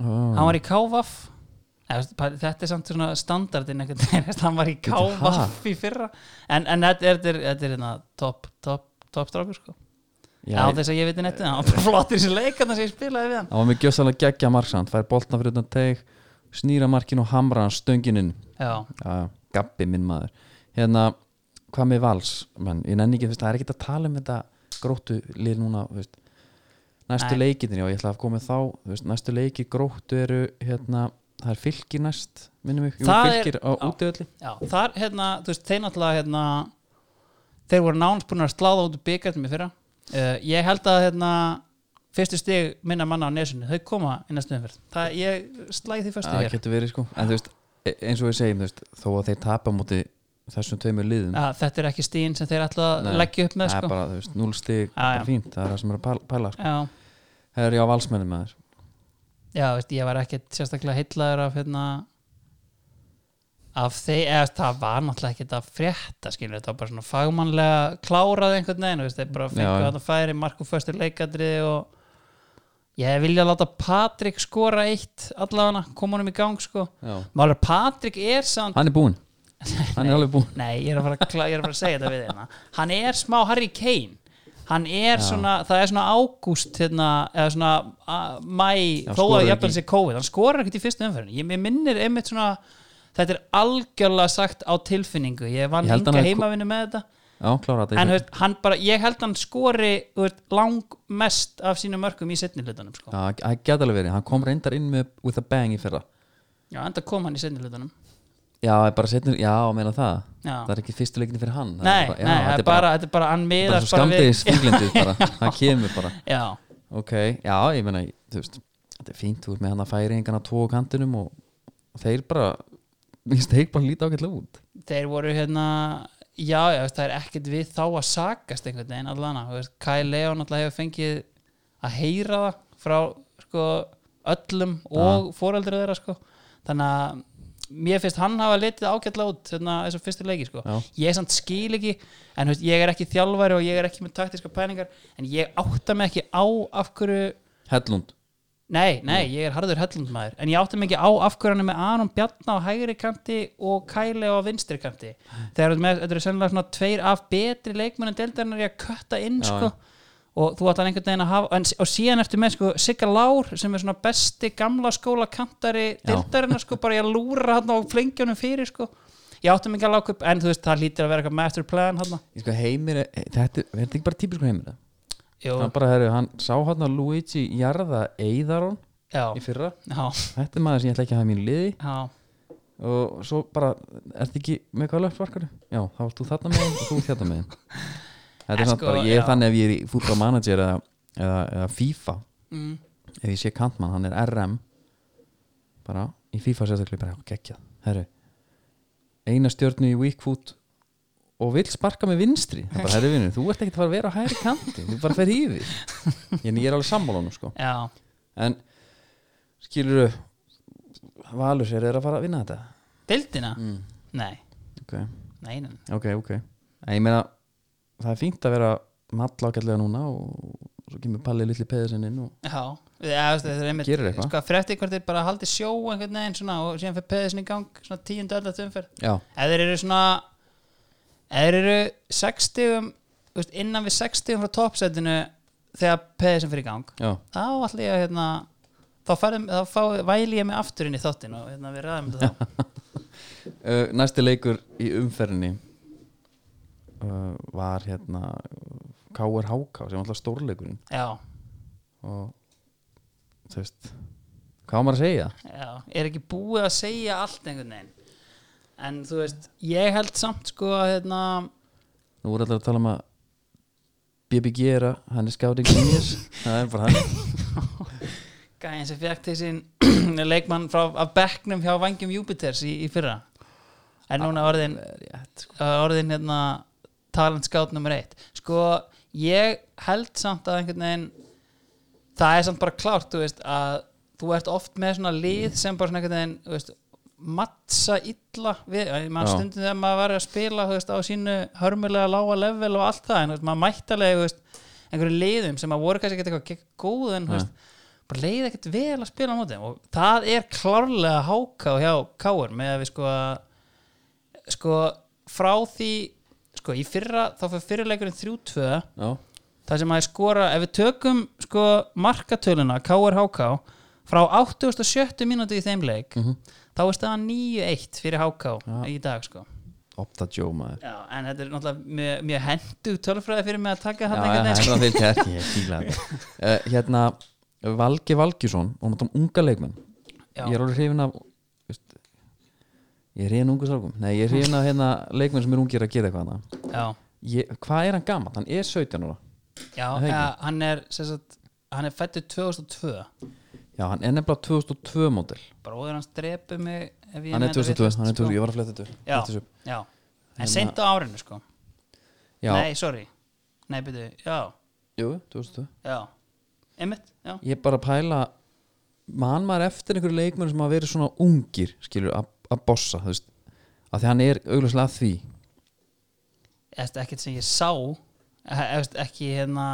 oh.
Hann var í Kávaf Þetta er samt svona standardin einhvern veginn veist, Hann var í Kávaf í fyrra En, en þetta er, þetta er, þetta er hérna topp, topp, topp strákur sko Já,
Já,
þess að ég veit í nettu Hann var bara flottur í þessu leik þannig sem ég spilaði við hann
hann Ah. var með gjössalega geggja marksand fær boltan fyrir utan teig, snýra markin og hamra hann stöngininn
Já,
Já, Gabbi, minn maður hérna, hvað með vals menn, ég nenni ekki, þú veist, það er ekki að tala um þetta gróttu lið núna þú veist, næstu
Nei.
leikitin, já, ég ætla að koma með þá þú veist, næstu leiki gróttu eru hérna, það er fylgir næst minnum við, jú,
Það er-
fylgir á
já.
útiðöldi
Já, þar hérna, þú veist, þeir náttúrulega hérna, þeir voru nánast búin að sláða út byggartum í fyrra uh, ég held að hérna fyrstu stig minna manna á nesunu, þau koma í næstu umferð, það ég slæði því fyrstu
það
hér,
getur verið sko en þú veist, e- eins og við segjum þú veist, þó að þeir tapa múti þessum tveimur liðum
að þetta er ekki stíin sem þeir ætla að
Nei,
leggja upp með
það er
sko.
bara, þú veist, 0 stig
Já, já.
bara fínt, það er það sem er að pæla- pæla sko.
já,
það er já valsmennum með þess
já, veist, ég var ekkit sérstaklega heitlaður af hérna af þeir, eða það var náttúrulega ekkit að frétta, skilur, þetta var bara svona fagmannlega klárað einhvern veginn, þú veist, þeir bara fengu
Já, já.
þetta færi, Marko föstur leikadriði og ég vilja láta Patrik skora eitt allavega, koma honum í gang sko
Já.
Málur Patrik er samt,
hann er búinn, Hann er alveg búinn.
Nei, ég er að fara að, kla- ég er að, fara að segja þetta við hérna Hann er smá Harry Kane Hann er svona, það er svona ágúst hérna, eða svona a- mæ,
Já,
þó
skorar
að jafnvel
ekki.
sér COVID, hann skorar ekkert í fyrstu umferðinu ég mér minnir einmitt svona þetta er algjörlega sagt á tilfinningu ég vann
Ég held hann
hinga
hafi-
heimavinu með þetta
Já, klára þetta í
en
fyrra.
hefst, hann bara, ég held hann skori hefst, lang mest af sínum mörgum í setni hlutanum sko.
Já, það geta alveg verið, hann kom reyndar inn með with a bang í fyrra
já, enda kom hann í setni hlutanum
Já, ég bara setnir, já, meina það
Já.
Það er ekki fyrstu leikinni fyrir hann Það
nei,
er bara, já,
nei,
þetta
þetta er bara, þetta er bara hann
bara
miðar
svo skamdegis fíklindu bara, það kemur bara
já,
Ok, já, ég meina, þú veist Þetta er fínt, þú veist með hann að færi engan að tóa kantinum og, og þeir bara Mér finnst þeir bara líta ágætlega út
þeir voru hérna já, já, veist, það er ekkert við þá að sakast einhvern veginn allan að, þú veist, Kyle Leon alltaf hefur fengið að heyra það frá sko, öllum og fóreldur þeirra sko. þannig að mér finnst hann hafa litið ágætlega út þarna, þessu fyrstu leiki sko.
Já.
ég samt skil ekki en hefst, ég er ekki þjálfari og ég er ekki með taktiska pælingar en ég átta mig ekki á af hverju
Hellund,
Nei, nei, ég er harður hellundmaður en ég átti mikið á afkvörðanum með Aron Bjarna á hægri kanti og Kæle á vinstri kanti þegar þú ert með, þetta eru sennilega svona tveir af betri leikmennum deildarinnar í að kötta inn
Já,
sko. og þú átt hann einhvern veginn að hafa en, og síðan ertu með sko, Sigga Lár sem er svona besti gamla skóla kantari
Já.
deildarinnar sko, bara ég að lúra hann á flengjónum fyrir sko. ég átti mikið að láka upp en þú veist, það lítur að vera eitthvað master plan hann
ég sko heimir er- Þetta er þetta ekki bara típisku heimir það?
Jú,
Hann bara, herru, hann sá hann að Luigi jarða Eiðaron í
já,
fyrra
já,
Þetta er maður sem ég ætla ekki að hafa í mínu liði
já
og svo bara, ertu ekki með hvað löfsvarkaru? Já, þá ert þú þarna með þeim og þú þarna með þeim Þetta
En
er samt
sko,
bara, ég er
já.
þannig ef ég er í fútbol manager eða, eða, eða FIFA
mm.
ef ég sé kantmann, hann er RM bara, í FIFA sérstaklega bara, já, geggjað, herru eina stjörnu í weak foot og vill sparka með vinstri það er bara, herru vinnu, þú ert ekkert að fara að vera á hægri kanti þú bara fer hífi en ég er alveg sammálunum, sko
já,
en, skilur Valur sér er að fara að vinna þetta
deildina
Mm.
nei,
ok
nei, nei
ok, ok en ég meina, það er fínt að vera mall ágætlega núna og svo kemur Palli litli peðisinn inn og
Já, eða, veist, þetta er einmitt
Gerir eitthvað.
sko, frétti hvort þeir bara haldi sjó einhvern veginn svona og síðan fyrir peðisinn í gang svona tíundu öllat umferð
já,
eða þeir eru svona eða þeir eru 60 veist, innan við 60 frá toppsetinu þegar peðisinn fyrir í gang
já,
þá ætla ég að hérna þá, farum, þá fá, væli ég mig aftur inn í þottin og hérna við ræðum þetta þá
uh, næsti leikur í umferðinni uh, var hérna K.R. Háká sem var alltaf stórleikurinn
Já,
og þú veist hvað á maður að segja?
já, er ekki búið að segja allt einhvern veginn en þú veist, ég held samt sko að hérna,
Nú voru allir að tala um að BBG er að hann er skáting genius það er bara hann
gæðin sem fekk til sín leikmann frá af bekknum hjá vangjum Júpiters í, í fyrra en núna orðin orðin hérna talent scout nummer eitt sko ég held samt að einhvern veginn það er samt bara klárt þú veist að þú ert oft með svona lið sem bara svona einhvern veginn þú veist, mattsa illa við mann
Já.
stundum þegar maður var að spila þú veist, á sínu hörmulega lága level og allt það en þú veist, maður mættalega þú veist, einhverjum liðum sem maður voru kannski ekkert eitthvað gekk góð en þú veist, bara leið ekkert vel að spila á móti þeim og það er klárlega háká hjá káur með að við sko að sko frá því sko í fyrra þá fyrir fyrirleikurinn 3-2
já,
það sem að skora ef við tökum sko markatöluna KRHK frá 87 mínúti í þeim leik
Mhm.
þá er staðan 9-1 fyrir HK í dag sko
opta Joe maður
Já, en þetta er náttúrulega mjög, mjög hendu tölfræði fyrir mig að taka
Já,
hann
já, það
einhvern veginn
er
sko.
að þeir kert Ég fíla þetta uh, Hérna, Valgi Valgjusson og hann um unga leikmenn
Já.
Ég er alveg hrifin af veist, Ég er hrifin af ungu strákum Nei, ég er hrifin af hérna leikmenn sem er ungir að gera eitthvað hana.
Já,
ég, Hvað er hann gamall? Hann er 17 ára
já,
Það er
ja,
ekki.
hann er sem sagt, hann er fættur 2002
Já, hann er nefnilega 2002 mótil
bróður hans drepi mig ef ég
Hann
meina
er 2002,
vitlaust,
hann er 2002
sko.
Ég var að fletta þetta
Já,
fletta þessu upp.
já, en
Hérna-
seint á árinu sko
Já,
Nei, sorry, nei, byrju, já
jú, 2002
Já, einmitt já.
Ég er bara að pæla Man maður eftir einhverju leikmenn sem hafa verið svona ungir Skilur, að- að bossa Þú veist að því hann er augljóslega að því
Eftir ekkert sem ég sá e- eftir ekki hérna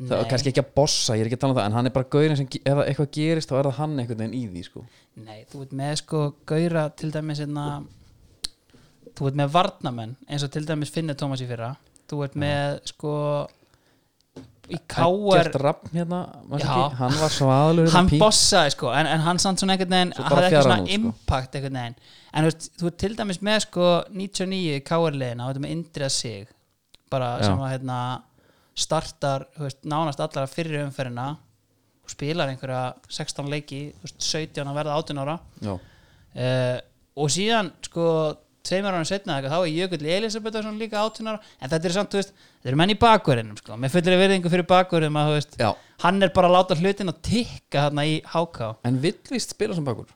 það er kannski ekki að bossa, ég er ekki að tala um það en hann er bara gaurin sem, ge- ef það eitthvað gerist þá er það hann einhvern veginn í því sko
Nei, þú ert með sko gauðra til dæmis einna, þú ert með varnamenn eins og til dæmis Finnur Tómas í fyrra þú ert með sko í
Gert
káar
Rapp hérna, manstu
Já.
ekki, hann var svaðalur hérna,
hann bossaði sko en, en hann samt svona einhvern veginn
Svo bara
hafði ekki
fjara
svona
hann út, sko.
impact einhvern veginn en þú ert, þú ert til dæmis með sko 99 káarlegin þú ert með Indra sig bara
Já.
sem að hérna startar þú veist, nánast allara fyrir umferðina og spilar einhverja 16 leiki þú veist, 17 að verða 18 ára
Já,
uh, og síðan sko tveimur ánum setna eitthvað, þá er Jökull Elisabethsson líka átunar en þetta er samt, þú veist, þetta eru menn í bakverðinum sko. með fullri verðingu fyrir bakverðum að, þú veist,
Já.
hann er bara að láta hlutin að tikka þarna í háká
en vill víst spila sem bakur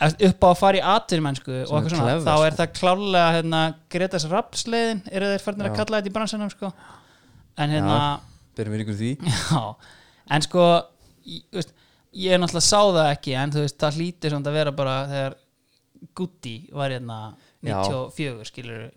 upp á að fara í atvinnumennsku og
Sem er
eitthvað svona,
clever,
þá
sko.
er það klálega hérna, Gretas Rapsleiðin eru þeir farnir að kalla þetta í bransanum sko. en hérna
Byrjum við ykkur því
Já, en sko ég, þú veist, ég er náttúrulega sá það ekki en þú veist, það hlýtur samt að vera bara þegar Gutti var hérna
Já.
94 skilur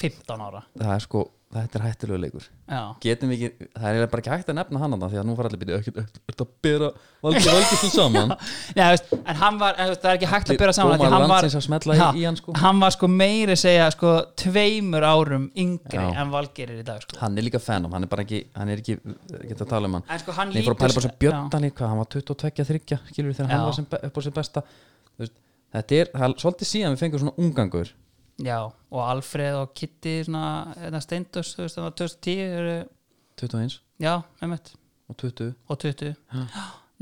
15 ára
Það er sko, þetta er hættulegu leikur
Já,
Getum við ekki, það er eiginlega bara ekki hægt að nefna hann þarna því að nú fara allir byrja Er þetta að byrja valgi valgi svo saman?
Nei, þú veist, en hann var, en, þú veist, það er ekki hægt að byrja saman af því
Dómar
hann var,
landsins að smella í-
Já,
í hann, sko.
hann var sko meiri segja sko tveimur árum yngri
Já.
en Valgerir í dag sko.
Hann er líka fennum, hann er bara ekki, hann er ekki, ekki að tala um hann
en sko hann
Nei, ég fór að pæla bara svo
Já.
Björn hann hvað, hann var 22-3 skilur þegar hann
Já.
var sem, be- upp á sem besta Þú veist, þetta er, það er svolítið síðan við fengum svona ungangur
Já, og Alfreð og Kitty svona, hérna Steindus, þú veist, þannig að 2010 eru,
21
já, einmitt
og 20
og 20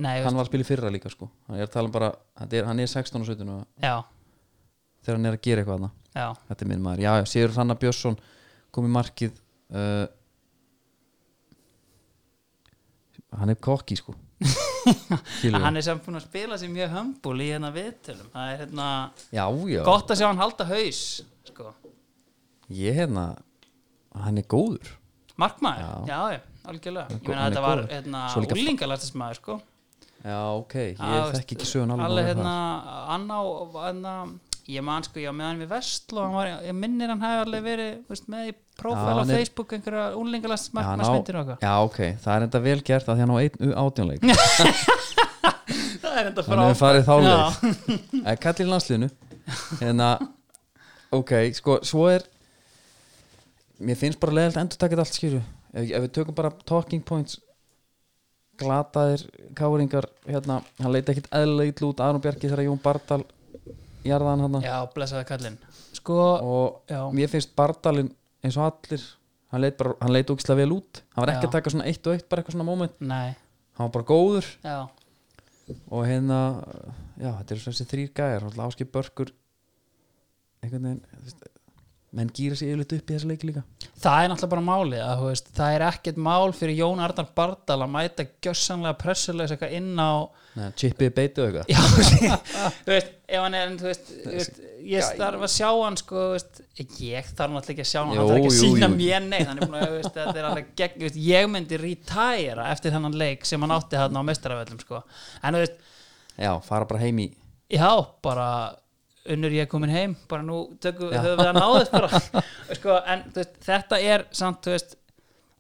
Nei, þú
hann var að spila í fyrra líka sko hann er að tala um bara, hann er, hann er 16 og 17 og
Já,
þegar hann er að gera eitthvað þarna.
já,
þetta er minn maður, já, já, Sigur Rannar Björnsson kom í markið uh, hann er kokki sko skilur
hann er samt búin að spila sér mjög hömbul í hérna viðtölum það er hérna,
já, já,
gott að sjá hann halda haus sko,
ég hérna hann er góður
markmaður já, já, algjörlega, ég
Hann
meina
er
þetta var
góður.
hérna,
Svo líka-
úlingalastismæður sko
já, ok, ég
Já, veist,
þekki ekki sögun alveg
alveg
nákvæmlega
hérna, anná hérna, ég man sko, ég á meðan við Vestló hann var, ég minnir hann hefði alveg verið þú veist, með í
Já,
prófæl á
hann er-
Facebook
Já,
einhverja
hann á-
úlingalastismæðsmyndir og eitthvað
Já, ok, það er enda vel gert að því hann á einn átjónleik
það er enda
Hann hefur farið þá
Já.
leik Kallið Eh, landsliðinu En að, ok, sko, svo er Mér finnst bara leðilt endur takið allt skýru ef, ef við tökum bara talking points Glataðir káringar Hérna, hann leita ekkit eðlega ítlu út Aron Bjarki þegar Jón Bardal Jarðan hann
já, blessaði kallinn sko,
Og
já,
mér finnst Bardalin eins og allir Hann leit, bara, hann leit ógislega vel út Hann var ekki
Já.
að taka svona eitt og eitt Bara eitthvað svona moment
nei,
Hann var bara góður
já
og hérna já, þetta eru svona þessi þrýr gæjar áskip börkur einhvern veginn þú veist, menn gýra sér yfirleitt upp í þessu leiki líka
Það er náttúrulega bara málið að þú veist, það er ekkert mál fyrir Jón Arnar Bardal að mæta gjössanlega pressulegs eitthvað inn á
Nei, chippið beitu og eitthvað
Já, þú veist, ef hann er en, þú veist, þú veist,
sko,
ég þarf að sjá hann sko, þú veist, ég þarf náttúrulega ekki að sjá hann
Jú,
hann þarf ekki að
jú,
sína
jú.
mér neitt hann er búin að, þú veist, þetta er alveg gegn þú veist, ég myndi retæra eftir þennan leik sem hann átti þarna á mestarafellum sko. en þú veist,
já, fara bara heim í
já, bara unnur ég er komin heim, bara nú tökum við höfum við að náðu bara sko, en þú veist, þetta er samt þú veist,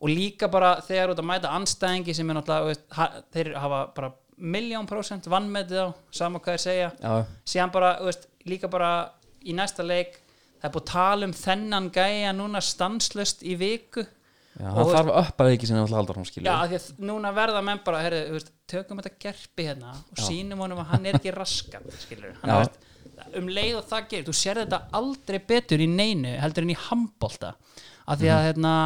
og líka bara þegar þú ert að mæta anstæðingi sem er náttúrulega þú veist, ha, þeir hafa bara miljón prósent vannmetið á, sama hvað þeir segja
já,
síðan bara, þú veist, líka bara í næsta leik, það er búið að tala um þennan gæja núna stanslust í viku
já
Og
hann
þú
þarf að uppa leiki sinni alltaf aldar hún
Já,
skilja
af því að núna verða menn bara herri, veist, tökum þetta gerpi hérna og sýnum honum að hann er ekki raskat skilur, hann
Já.
veist, um leið og það gerir þú sér þetta aldrei betur í neinu heldur en í handbolta af því að
Mhm.
hérna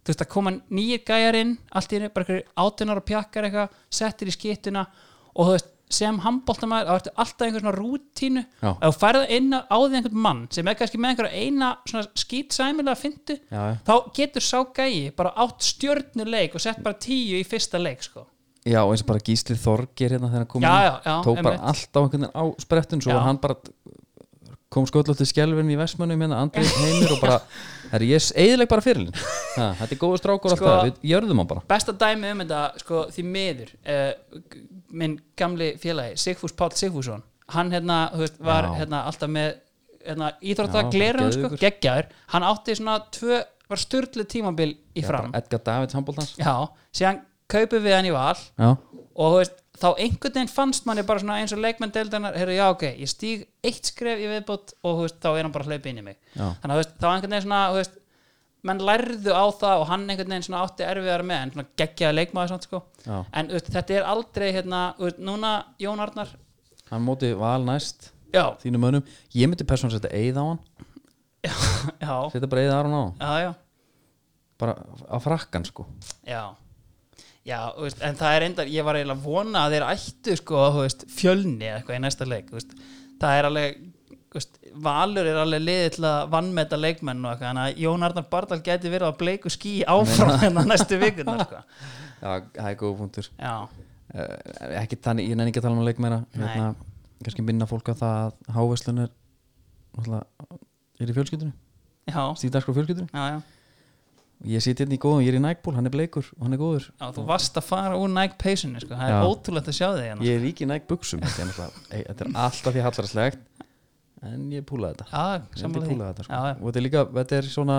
þú veist að koma nýjir gæjarinn allt í einu, bara einhverjir átunar og pjakkar eitthvað settir í skittuna og þú veist sem handbóltamæður, þá ertu alltaf einhver svona rútínu
Já.
ef þú færða inn á því einhvern mann sem er kannski með einhverja eina svona skýtsæmilega fyndu
Já, já.
þá getur sá gæi bara átt stjörnuleik og sett bara tíu í fyrsta leik sko.
já, eins og bara gísli þorgir hérna þegar hann kom
Já,
inn,
já, já,
tók bara
einmitt.
allt á einhvern veginn á sprettun svo
Já.
var hann bara kom sköllótt í skelfin í vestmönnum hérna Andri heimir og bara er ég eðileg bara fyrirlin Ha, þetta er góðu strákur
Sko-
sko, alltaf, við jörðum hann bara
besta dæmi um þetta sko, því miður uh, minn gamli félagi Sigfús Páll Sigfússon hann hérna, þú veist, var
Já.
hérna, alltaf með hérna,
Já,
íþrótta
bara
glerun sko,
geðveikur.
geggjaður hann átti svona tvö, var styrlu tímabil í fram
Edgar Davids handbóltans
Já, síðan kaupum við hann í val
já,
og þú veist, þá einhvern veginn fannst manni bara svona eins og leikmenn deildarinnar heyrðu, já ok, ég stíg eitt skref í viðbót og þú veist, þá er hann bara hlaupið inn í mig
Já.
þannig að þú veist, þá einhvern veginn svona þú veist, menn lærðu á það og hann einhvern veginn svona átti erfiðar með en svona geggjaði leikmaður svona, sko.
já
en þú veist, þetta er aldrei hérna, þú veist, núna Jón Arnar
hann móti val næst
já,
þínum önum, ég myndi persónu setja eigið á hann
já,
setja bara eigið á hann á hann.
já, já
bara á frakkan sko
Já Já, þú veist, en það er enda, ég var eiginlega að vona að þeir ættu sko, þú veist, fjölni eða eitthvað í næsta leik, þú veist, það er alveg, þú veist, Valur er alveg liðið til að vannmeta leikmenn og eitthvað, þannig að Jón Arnar Bardal gæti verið að bleiku skí áfram hérna næstu vikuna, sko.
já, það er góð punktur
Já,
uh, ekki þannig, ég nenni ekki að tala um leik meira
Nei.
hérna, kannski minna fólk að það að háveslun er náttúrulega, er í fjölskyldunni
já,
stíðdagskrá fjölskyldunni,
já, já,
ég siti hérna í góðum ég er í nækból, hann er bleikur og hann er góður
já, þú varst að fara úr Nike peysunni, sko, það
Já.
er ótrúlegt að sjá þig hérna.
ég er ekki í nækbuksum þetta, er náttúrulega- ei, þetta er alltaf því hallarslegt en ég púlaði þetta
Já,
Ég held ég
samanlega því.
púlaði þetta, sko.
Já, já.
og þetta er líka, þetta er svona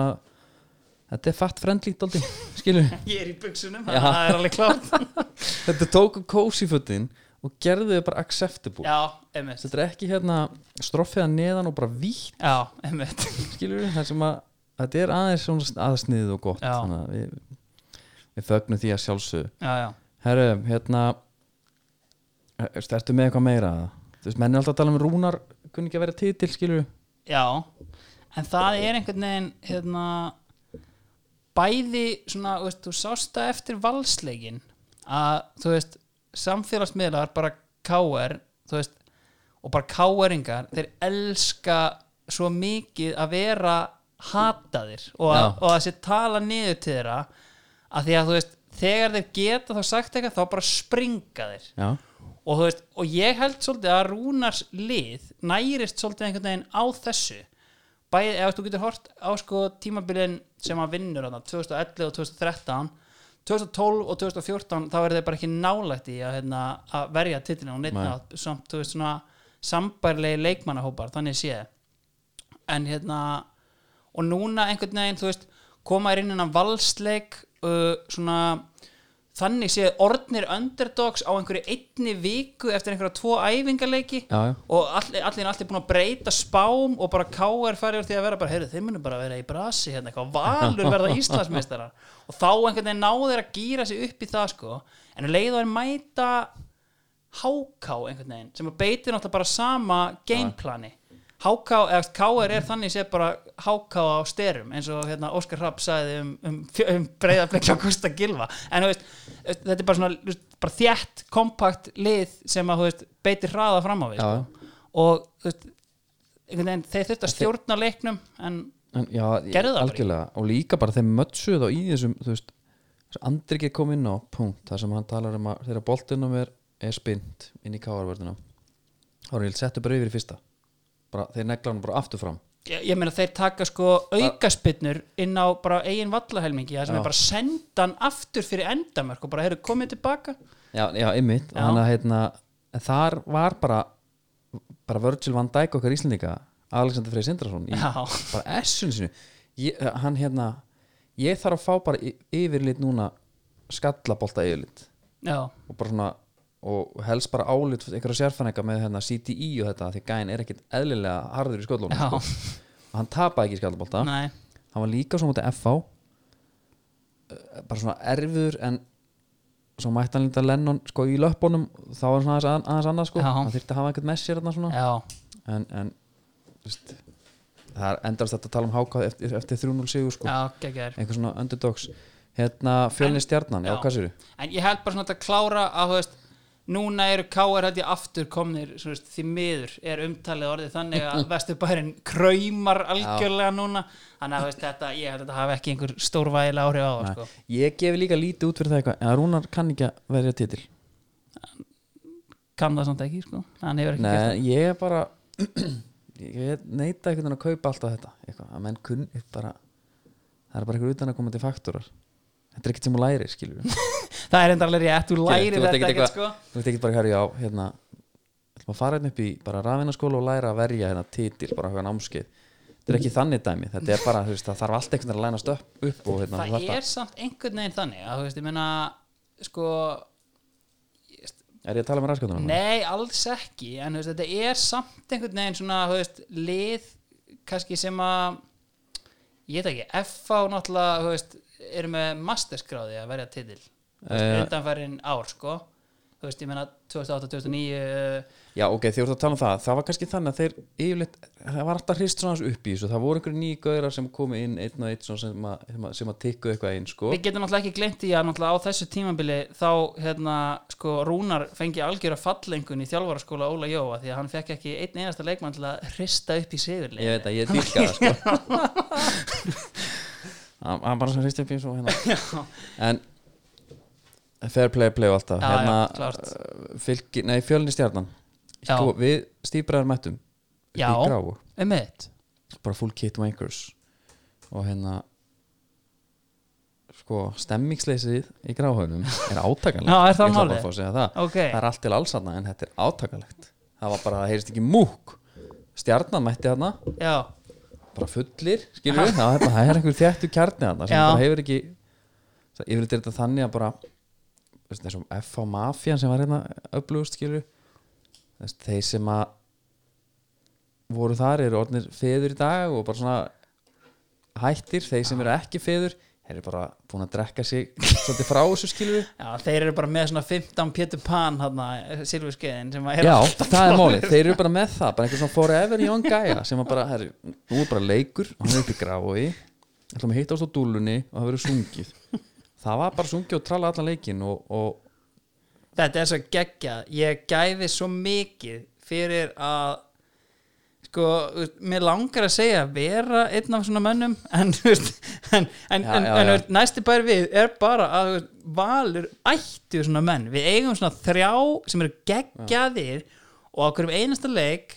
þetta er fatt frendlít aldrei, skilur
Ég er í buksunum,
Já.
það er alveg klárt.
þetta tóku cozy fötin og gerðu þau bara acceptable
Já, einmitt.
þetta er ekki hérna stroffiða neðan og bara vítt
Já, einmitt.
skilur við, það sem að þetta er aðeins svona aðsniðið og gott
Já.
þannig að við, við fögnum því að sjálfsögðu
Já, já.
herru, hérna er- ertu með eitthvað meira þú veist, menn er alltaf að tala um rúnar kunni ekki að vera titil, skilur við
Já, en það er einhvern veginn hérna, bæði svona, þú veist, þú sást það eftir valsleikin að, þú veist, samfélagsmiðlar bara káer, þú veist og bara káeringar, þeir elska svo mikið að vera hataðir og að,
Já.
og að sér tala niður til þeirra að því að þú veist, þegar þeir geta þá sagt eitthvað, þá bara springa þeir
já,
og, þú veist, og ég held svolítið að Rúnars lið nærist svolítið einhvern veginn á þessu bæði ef þú getur hort á sko tímabilin sem hann vinnur þarna, 2011 og 2013 2012 og 2014 þá er þeir bara ekki nálægt í að, hérna, að verja titilin og
Nei.
neitna samt, þú veist, svona sambærlegi leikmannahópar, þannig séð en hérna og núna einhvern veginn, þú veist koma er inn innan valsleik uh, svona þannig séð orðnir underdogs á einhverju einni viku eftir einhverja tvo æfingaleiki
já, já,
og allir allir allir búin að breyta spám og bara K.R. farið úr því að vera bara, heyrðu, þeir munum bara vera í brasi hérna eitthvað, valur verða Íslandsmeistarar og þá einhvern veginn náðu þeir að gýra sig upp í það sko, en um leið og þeir mæta háká einhvern veginn, sem að beitir náttúrulega bara sama gameplani Háká, eða K.R. er þannig séð bara háká á styrum eins og hérna Óskar Rapp sagði um, um, um breyðarbleikja Gústa Gilva en þú veist, þetta er bara svona þú veist, bara þjætt, kompakt lið sem að þú veist, beitir hraða fram á við
já, já.
og þú veist, einhvern veginn, þeir þurft að stjórna leiknum en
En, já ég-
Gerðu það bara
algjörlega, og líka bara þeim mötsuð þá í þessum, þú veist þessu Andri ekki kom inn á, punkt, það sem hann talar um að þegar boltinum er, er spint inn í káarvörðina þá er ég settu bara yfir í fyrsta bara, þeir negla hann bara aftur fram
ég, ég meina þeir taka sko aukaspinnur inn á bara eigin vallahelmingi það sem
Já.
er bara sendan aftur fyrir endamörk og bara heyrðu komið tilbaka
Já, já, ymmit
Já.
Þannig að hérna, þar var bara bara Virgil van Dijk okkar Íslendinga Alexander Frey Sindrason í
Já.
bara essun sinu ég, hann hérna, ég þarf að fá bara y- yfirlit núna skallabolta yfirlit
já,
og bara svona og helst bara álit einhverja sérfænega með hérna, CTI og þetta því gæn er ekkit eðlilega harður í sköllunum
Já.
og hann tapaði ekki í skallabolta
nei,
hann var líka svo mútið FH eh, bara svona erfiður en svo mætti hann lítið að Lennon sko í löppunum þá var svona aðeins, að- aðeins annað sko
Já.
hann þyrfti að hafa eitthvað með sér þarna svona
já,
en, en veist, það er endast þetta að tala um hákáð eftir, eftir 3-0 sigur sko
já, geggjær
einhver svona underdogs hérna fjölni stjarnan, já,
já.
hvað sér
en ég held bara svona að klára að þú veist Núna eru K.R. held ég aftur komnir svona, veist, því miður er umtalið orðið þannig að vesturbærin kraumar algjörlega núna þannig að þú veist, þetta, ég held að þetta hafi ekki einhver stórvægilega áhrif á það sko.
ég gefi líka lítið út fyrir það eitthvað en Rúnar kann ekki að verja titil
kann það samt ekki sko. hann hefur ekki gert
Nei, ég er bara ég neita einhvern veginn að kaupa alltaf þetta eitthvað, að menn kunni bara það er bara einhver utan að koma til faktúrar þetta er ekkert sem hún læri, skilur við
það. það er enda alveg rétt, þú lærir
Þú ert
þetta
ekkert
ekkert
eitthvað-
sko.
þú veit ekki bara hér, já, hérna ætlum að fara hérna upp í bara rafinaskóla og læra að verja hérna titil, bara hvað námskeið þetta er
Mhm.
ekki þannig dæmi, þetta er bara þú veist, það þarf allt einhvern veginn að lænast upp, upp og hérna
það er samt einhvern veginn þannig að þú veist, ég meina sko
Er ég að tala um með raskatunum?
nei, alls ekki en þú veist, þetta er samt einhvern veginn svona þú veist, lið kannski sem að ég veit ekki, FH náttúrulega þú veist, eru með masterskráði að verja titil
Eh.
uh, undanfærin ár sko þú veist, ég meina 2008-2009
Já, ok, þegar þú ert að tala um það, það var kannski þannig að þeir yfirleitt, það var alltaf hrist svona aðeins upp í þessu, það voru einhverju nýju gauðrar sem komu inn einn og einn svona sem að, sem að, sem að tikku eitthvað einn, sko.
Við getum náttúrulega ekki gleymt því að náttúrulega á þessu tímabili þá hérna, sko, Rúnar fengi algjör að fallengun í þjálfaraskóla Óla Jóa því að hann fekk ekki einn einasta leikmann til að hrista upp í sigurleik
Ég veit að ég dýrka það, sko. Hann hann bara svona hrist upp í þessu og hérna. En, fair play, play og allt það.
Já, já,
Hérna,
klárt.
uh, fylgi, nei, fjölni stjarnan.
Já.
Sko, við stýpraðar mættum. upp í
Já,
gráu.
um eitt
bara full kit wankers og hérna sko stemmingsleysið í gráhauðum er átakalegt
Já,
Ég
er það
ætla bara
málið?
að fá að segja það.
Ok.
það er allt til alls hana en þetta er átakalegt það var bara, það heyrist ekki múk stjarnan mætti hana,
Já,
bara fullir skilur við, það, er- það er einhver þjættu kjarni hana sem
Já.
bara hefur ekki það- yfirleitt er þetta þannig að bara þú veist, þessum FH Mafia sem var hérna upplugust skilur við, þú veist, þeir sem að voru þar eru orðnir feður í dag og bara svona hættir, þeir sem eru ekki feður þeir eru bara búin að drekka sig svolítið frá þessu skilur við
já þeir eru bara með svona 15 Pétur Pan hann, silfurskeiðin sem að er
Já,
alltaf
það er
klárir.
málið, þeir eru bara með það bara einhver svona forever young gæja sem að bara, herri, nú er bara leikur hann er upp í grái, ætlum að hitta ást á dúlunni og það verður sungið það var bara sungið og tralla allan leikin og, og
Þetta er svo geggja Ég gæfi svo mikið fyrir að sko, þú veist, mér langar að segja að vera einn af svona mönnum en, þú veist, en, en,
Já,
en,
já,
en
já.
þú veist, næsti bær við er bara að þú veist, valur ættu svona menn við eigum svona þrjá sem eru geggjaðir og á hverjum einasta leik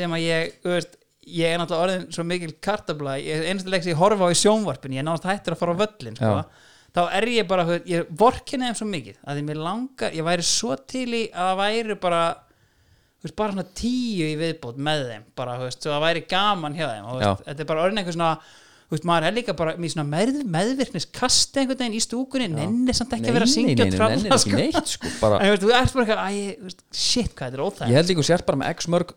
sem að ég þú veist, ég er náttúrulega orðin svo mikil kartabla ég er einasta leik sem ég horfa á í sjónvarpinu ég er náttúrulega hættur að fara á völlin sko.
Já.
þá er ég bara, þú veist, ég vorkinni þeim svo mikið að ég mér langar, ég væri svo til í að það væri bara þú veist, bara svona tíu í viðbót með þeim bara, þú veist, svo það væri gaman hjá þeim og, þú veist,
Já.
þetta er bara orðin einhver svona þú veist, maður er líka bara með svona með, meðvirkniskast einhvern veginn í stúkunni nenni samt ekki að vera að
Nei, nei,
syngja
nei,
og
nei,
tralla,
nennir ekki neitt, sko, bara-
en þú veist, þú ert bara eitthvað, æ, þú veist, shit, hvað þetta er óþægt
ég held líka sér bara með x mörg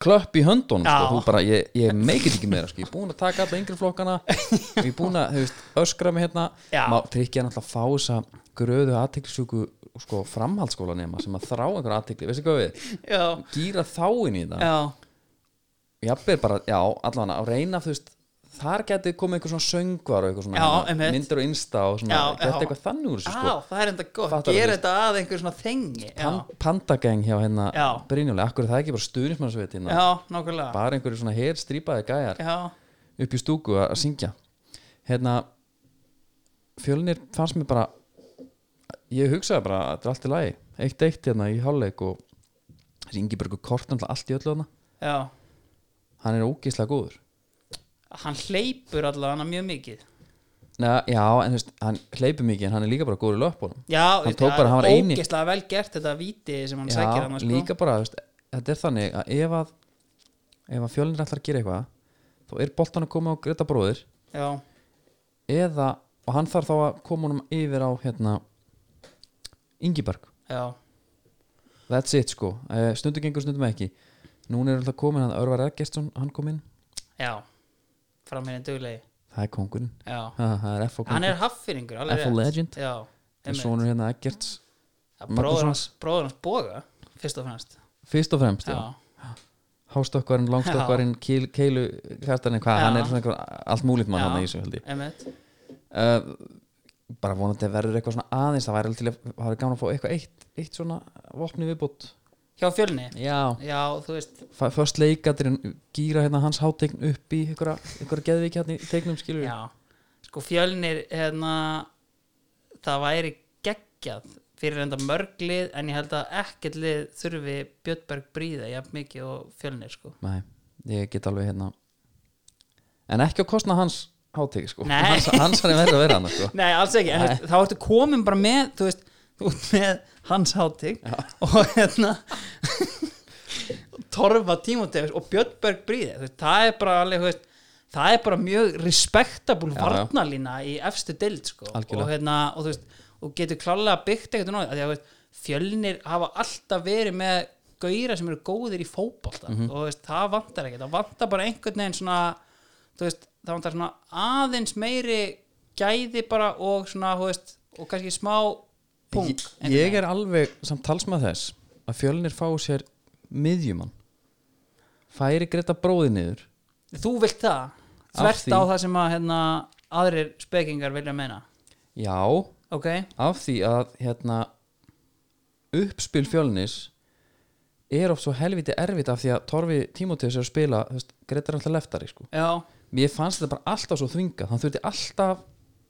klöpp í höndunum
Já.
sko, þú bara, ég, ég meikið ekki meira sko. ég er búin að taka alla yngri flokkana ég er búin að þú veist, öskra mig hérna
Já.
má tryggja náttúrulega að fá þessa gröðu aðteklisjúku sko, framhaldsskóla sem að þrá einhver aðtekli, veistu hvað við
já,
gýra þáinn í það
já,
jafnvel bara, já, allan að reyna þú veist, þar geti komið einhver svona söngvar og eitthvað svona
Já,
hérna,
einmitt.
myndir og insta og svona,
Já,
geti
já.
eitthvað þannig úr þessu
á,
sko
það er enda gott
Fattar
gera
þú?
þetta að einhver svona þengi já,
Pan, pandageng hjá hérna
Já.
Brynjóli, akkur er það ekki bara stuðnismannsveit hérna
já, nákvæmlega
bara einhverju svona hér strýpaði gæjar
já,
upp í stúku að, að syngja hérna fjölnir fannst mér bara ég hugsaði bara að þetta er allt í lagi eitt eitt hérna í hálfleik og þessi Ingibergur Kort náttúrulega allt í öllu hana
já,
hann er ógeðslega góður
hann hleypur allavega mjög mikið
Nei, já, en þú veist, hann hleypur mikið en hann er líka bara góður í löpunum
já,
Hann tók bara- hann var eini-
ógeðslega vel gert þetta víti sem hann
Já,
sækir hann sko.
líka bara, þú veist, þetta er þannig að ef að ef að fjölnir ætlar að gera eitthvað þá er boltan að koma á Greta bróðir
já,
eða, og hann þarf þá að koma honum yfir á hérna Ingiberg,
já,
that's it sko Eh, stundum gengur, stundum ekki núna er alltaf komin hann Örvar Ergestsson, hann kom inn
já framherinn duglegi
það er kongurinn,
já.
Ha, það er F.O.
hann
kongur
er haffyringur alveg
F.O.
rétt.
legend,
já,
en
einmitt.
sonur hérna Eggerts
Já,
Magnússon.
bróður hans, bróður hans boga fyrst og fremst
fyrst og fremst,
já,
já. hástökkvarinn, langstökkvarinn, kíl, keilu kjartarinn, hvað,
Já.
hann er svona einhver, allt múlið mann
Já.
hann í þessu held ég
einmitt
uh, bara vonandi að verður eitthvað svona aðeins það væri alveg til að, það væri gaman að fá eitthvað eitt, eitt svona vopni viðbútt
hjá fjölni,
já,
já, þú veist
först leikatirinn gýra hérna hans hátegn upp í einhverja, einhverja geðvík hérna í tegnum skilur
Já, sko fjölnir hérna, það væri geggjað fyrir enda mörg lið en ég held að ekkert lið þurfi Björnberg bríða jafn mikið og fjölnir sko
nei, ég get alveg hérna en ekki að kostna hans hátegn sko,
Nei.
hans, hans er verið að vera hann sko.
Nei, alls ekki, en þú veist, þá ertu komin bara með þú veist, út með hans hátig og hérna Torfa Tímotefis og Björnberg bríði, þú veist, það er bara alveg, þú veist, það er bara mjög respektabúl
Já, já.
varnalína í efstu deild sko
Algjörlega.
og hérna, og þú veist og getur klálega byggt eitthvað náði því að þú veist, fjölnir hafa alltaf verið með gauðra sem eru góðir í fótbolta
Mhm.
og þú veist, það vantar ekkert það vantar bara einhvern veginn svona þú veist, það vantar svona aðeins meiri gæði bara og svona þú veist, og kannski smá punk
Ég, ég er alveg samt talsmað þess að fjölnir fá sér miðjumann færi Greta bróði niður
þú vilt það
Af
þvert
því-
á það sem að hérna, aðrir spekingar vilja meina
já,
ok,
af því að hérna uppspil fjölnis er oft svo helviti erfitt af því að Torfi Tímóteus er að spila þú veist, Greta er alltaf leftari sko
já,
mér fannst þetta bara alltaf svo þvingað hann þurfti alltaf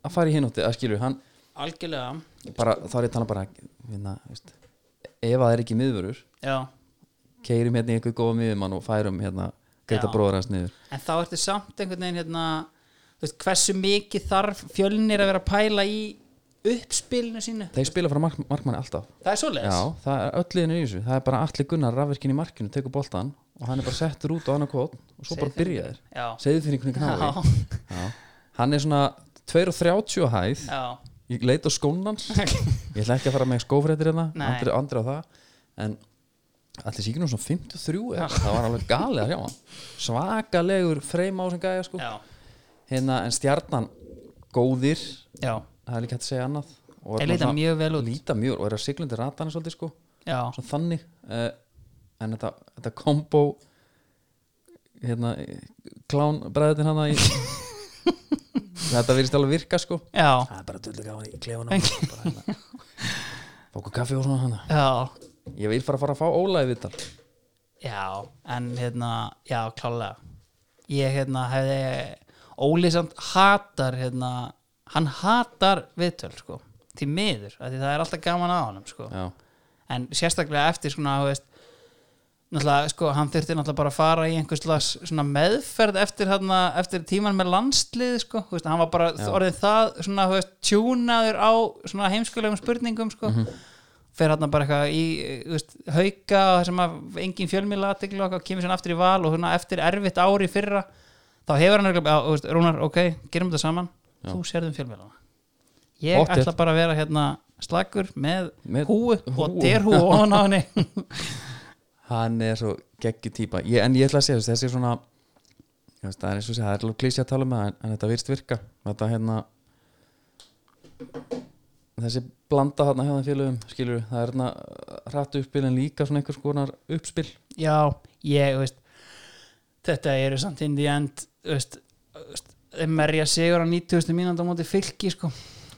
að fara í hinótti að skilur hann
algjörlega
bara, þá er ég að tala bara hérna, veist, ef að það er ekki miðvörur
já,
keirum hérna í einhver góða miðjumann og færum hérna Greta
Já.
bróður hans niður
en þá ertu samt einhvern veginn hérna, þú veist, hversu mikið þarf fjölnir að vera að pæla í uppspilinu sínu
Þeir spila frá mark, markmanni alltaf
það er svoleiðis
Já, það er öll liðinu í þessu Það er bara allir gunnar rafverkin í markinu, tekur boltan og hann er bara settur út á annað kvot og svo bara byrja þér
já,
Segðu þér einhvern knáði
já,
Já. Hann er svona 2.30 á hæð
já.
Ég leit á skónans Ég ætla ekki að fara með skófréttir hérna
Nei.
andri, andri á það En allir síkir nú svona 53 eða, Það var alveg galið að sjá hann Svakalegur freim á sem gæja sko
já,
Hérna, en stjarnan góðir
já.
Það er líka hægt að segja annað Og er
Þeir
bara
leita
svona-
mjög vel út
líta mjög og er að sigla undir ratana svolítið sko,
já,
svona þannig uh, en þetta, þetta kombo hérna klán bræðin hana í, þetta virðist alveg virka sko
já,
það er bara tullu gaman í klefunum bara hérna fóku kaffi og svona hana
já
ég vil fara að fara að fá Óla í vittal
Já, en hérna, já, klálega Ég hérna hefði Óli samt hatar hérna, hann hatar viðtöl sko, því miður, af því það er alltaf gaman að honum sko,
já,
en sérstaklega eftir svona, þú veist náttúrulega, sko, hann þurfti náttúrulega bara að fara í einhvers slags svona meðferð eftir, hérna, eftir tíman með landslið sko, þú veist, hann var bara
Já.
orðið það svona, þú veist, tjúnaður á svona heimskulegum spurningum sko
Mhm.
fer hann bara eitthvað í þú veist, hauka og sem að engin fjölmiðla aðtekla og kemur sér aftur í val og svona eftir erfitt ári fyrra þá hefur hann eitthvað, veist, Rúnar, ok, gerum þetta saman
Já.
þú sérðum fjölmiðlana ég
Pottþétt.
ætla bara að vera hérna slagur með,
Með
húu og
húfu.
derhúu ofan á henni
hann er svo geggi típa ég, en ég ætla að segja þessi, þessi svona ég veist, það er eins og segja, það er alveg klísi að tala með en, en þetta virðist virka þetta hérna þessi blanda þarna hérna félögum skilur, það er hérna hrættu uppspil en líka svona einhvers konar uppspil
já, ég, þú veist þetta eru samt inn í end þú veist, þú veist, þeim merja sigur á 90. mínúnd á móti fylki sko,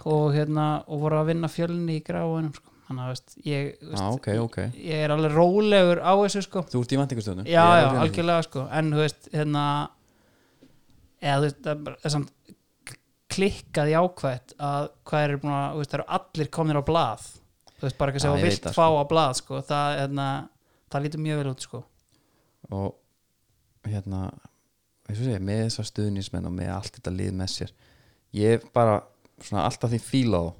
og hérna, og voru að vinna fjölni í gráinum, sko, þannig að þú veist, ég, þú
já,
veist,
ok, ok,
ég er alveg rólegur á þessu sko
þú ert í vendingustöðunum
já, já, algjörlega sko en þú veist, hérna eða þú veist, það er bara- það er samt klikkað jákvætt að hvað er búin að, þú veist, það eru allir komnir á blað þú veist, bara eitthvað sem
Já,
þú
ég
vilt
veit það,
fá á blað sko, það, hérna, það lítur mjög vel út sko
og hérna eins og segja, með þessar stuðnismenn og með allt þetta lið með sér ég bara svona alltaf því fíla á þá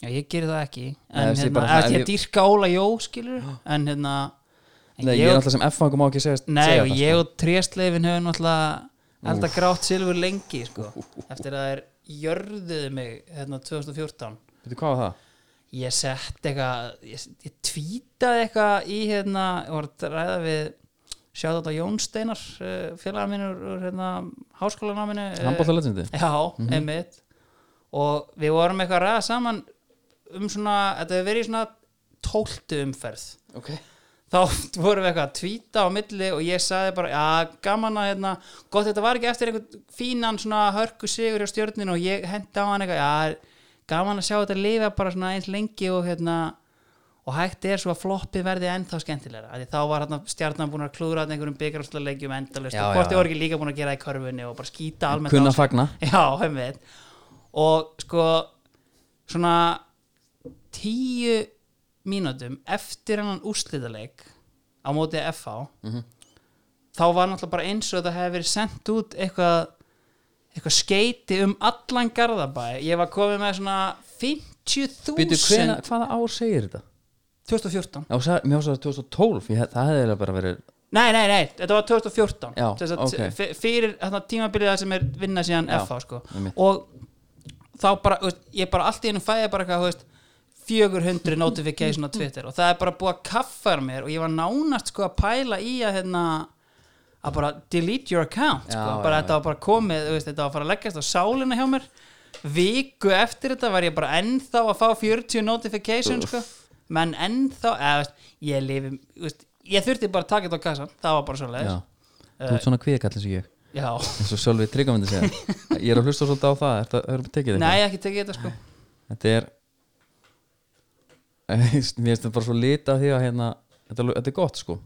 já, ég geri það ekki
Nei,
en
þessi
hérna,
bara
eða
svona-
því að dýrka Óla Jó skilur, en hérna en
Nei, ég er alltaf sem F-fangum á ekki segja,
Nei,
segja
og
það, sko.
ég og tréstleifin hefur náttúrulega elda grátt silfur lengi sko. eftir að þeir jörðuðu mig hérna
sko.
2014
Veitu, hvað var það?
ég sett eitthvað ég, ég tvítaði eitthvað í hérna, ég var að ræða við sjáðu þetta Jón Steinar eh, félagar minn úr úr, hérna, háskólanáminu eh,
Handbóltalegindi?
Já, einmitt og við vorum eitthvað að ræða saman um svona, þetta hefur verið í svona tóltu umferð
Ok
þá vorum við eitthvað að tvíta á milli og ég sagði bara, já, gaman að hérna, gott þetta var ekki eftir einhvern fínan svona hörku sigur hjá stjórninu og ég hendi á hann eitthvað, já, gaman að sjá þetta lifa bara svona eins lengi og hérna og hægt er svo að floppi verði ennþá skemmtilegra, Af því þá var hérna stjarnan búin að klúra þarna einhverjum byggarhaldalegjum endalist
Já,
og
já,
hvort þið
já.
voru ekki líka búin að gera það í körfunni og bara skýta almennt á
Kunna
sig.
fagna
Já, heimveit og sko svona tíu mínútum eftir hennan úrslitaleik á móti FH þá var náttúrulega bara eins og það hefði verið sendt út eitthvað eitthvað skeiti um allan Garðabæ ég var komið með svona
Býtu,
50.000
hvena, hvaða ár segir þetta?
2014
Já, sa- Mér ásæði 2012, ég, hef- það hefði eiginlega bara verið
Nei, nei, nei, þetta var 2014
Já,
Þess að
ok.
f- Fyrir þarna tímabilið það sem er vinna síðan
Já,
FH sko.
einmitt.
og þá bara, þú veist, ég bara allt í hennu fæði bara eitthvað, þú veist 400 notification á Twitter og það er bara búið að kaffar mér og ég var nánast sko að pæla í að hérna að bara delete your account sko,
Já, já,
bara þetta var bara komið, þú veist, þetta var að fara að leggjast á sálina hjá mér viku eftir þetta var ég bara ennþá að fá 40 notification sko, menn ennþá eða, þú veist, ég lifi, þú veist ég þurfti bara að taka þetta á kassan, það Eh. var bara svo leiðis
Já. Þú ert svona kvíðkall eins og ég
já.
eins og Sölvi Tryggvamindi segja Ég er að hlusta svolítið á það Er það er tekið þetta?
Nei, ekki tekið þetta sko
Þetta er Mér finnst þetta bara svo lita því að hérna Þetta, er alveg- þetta er gott sko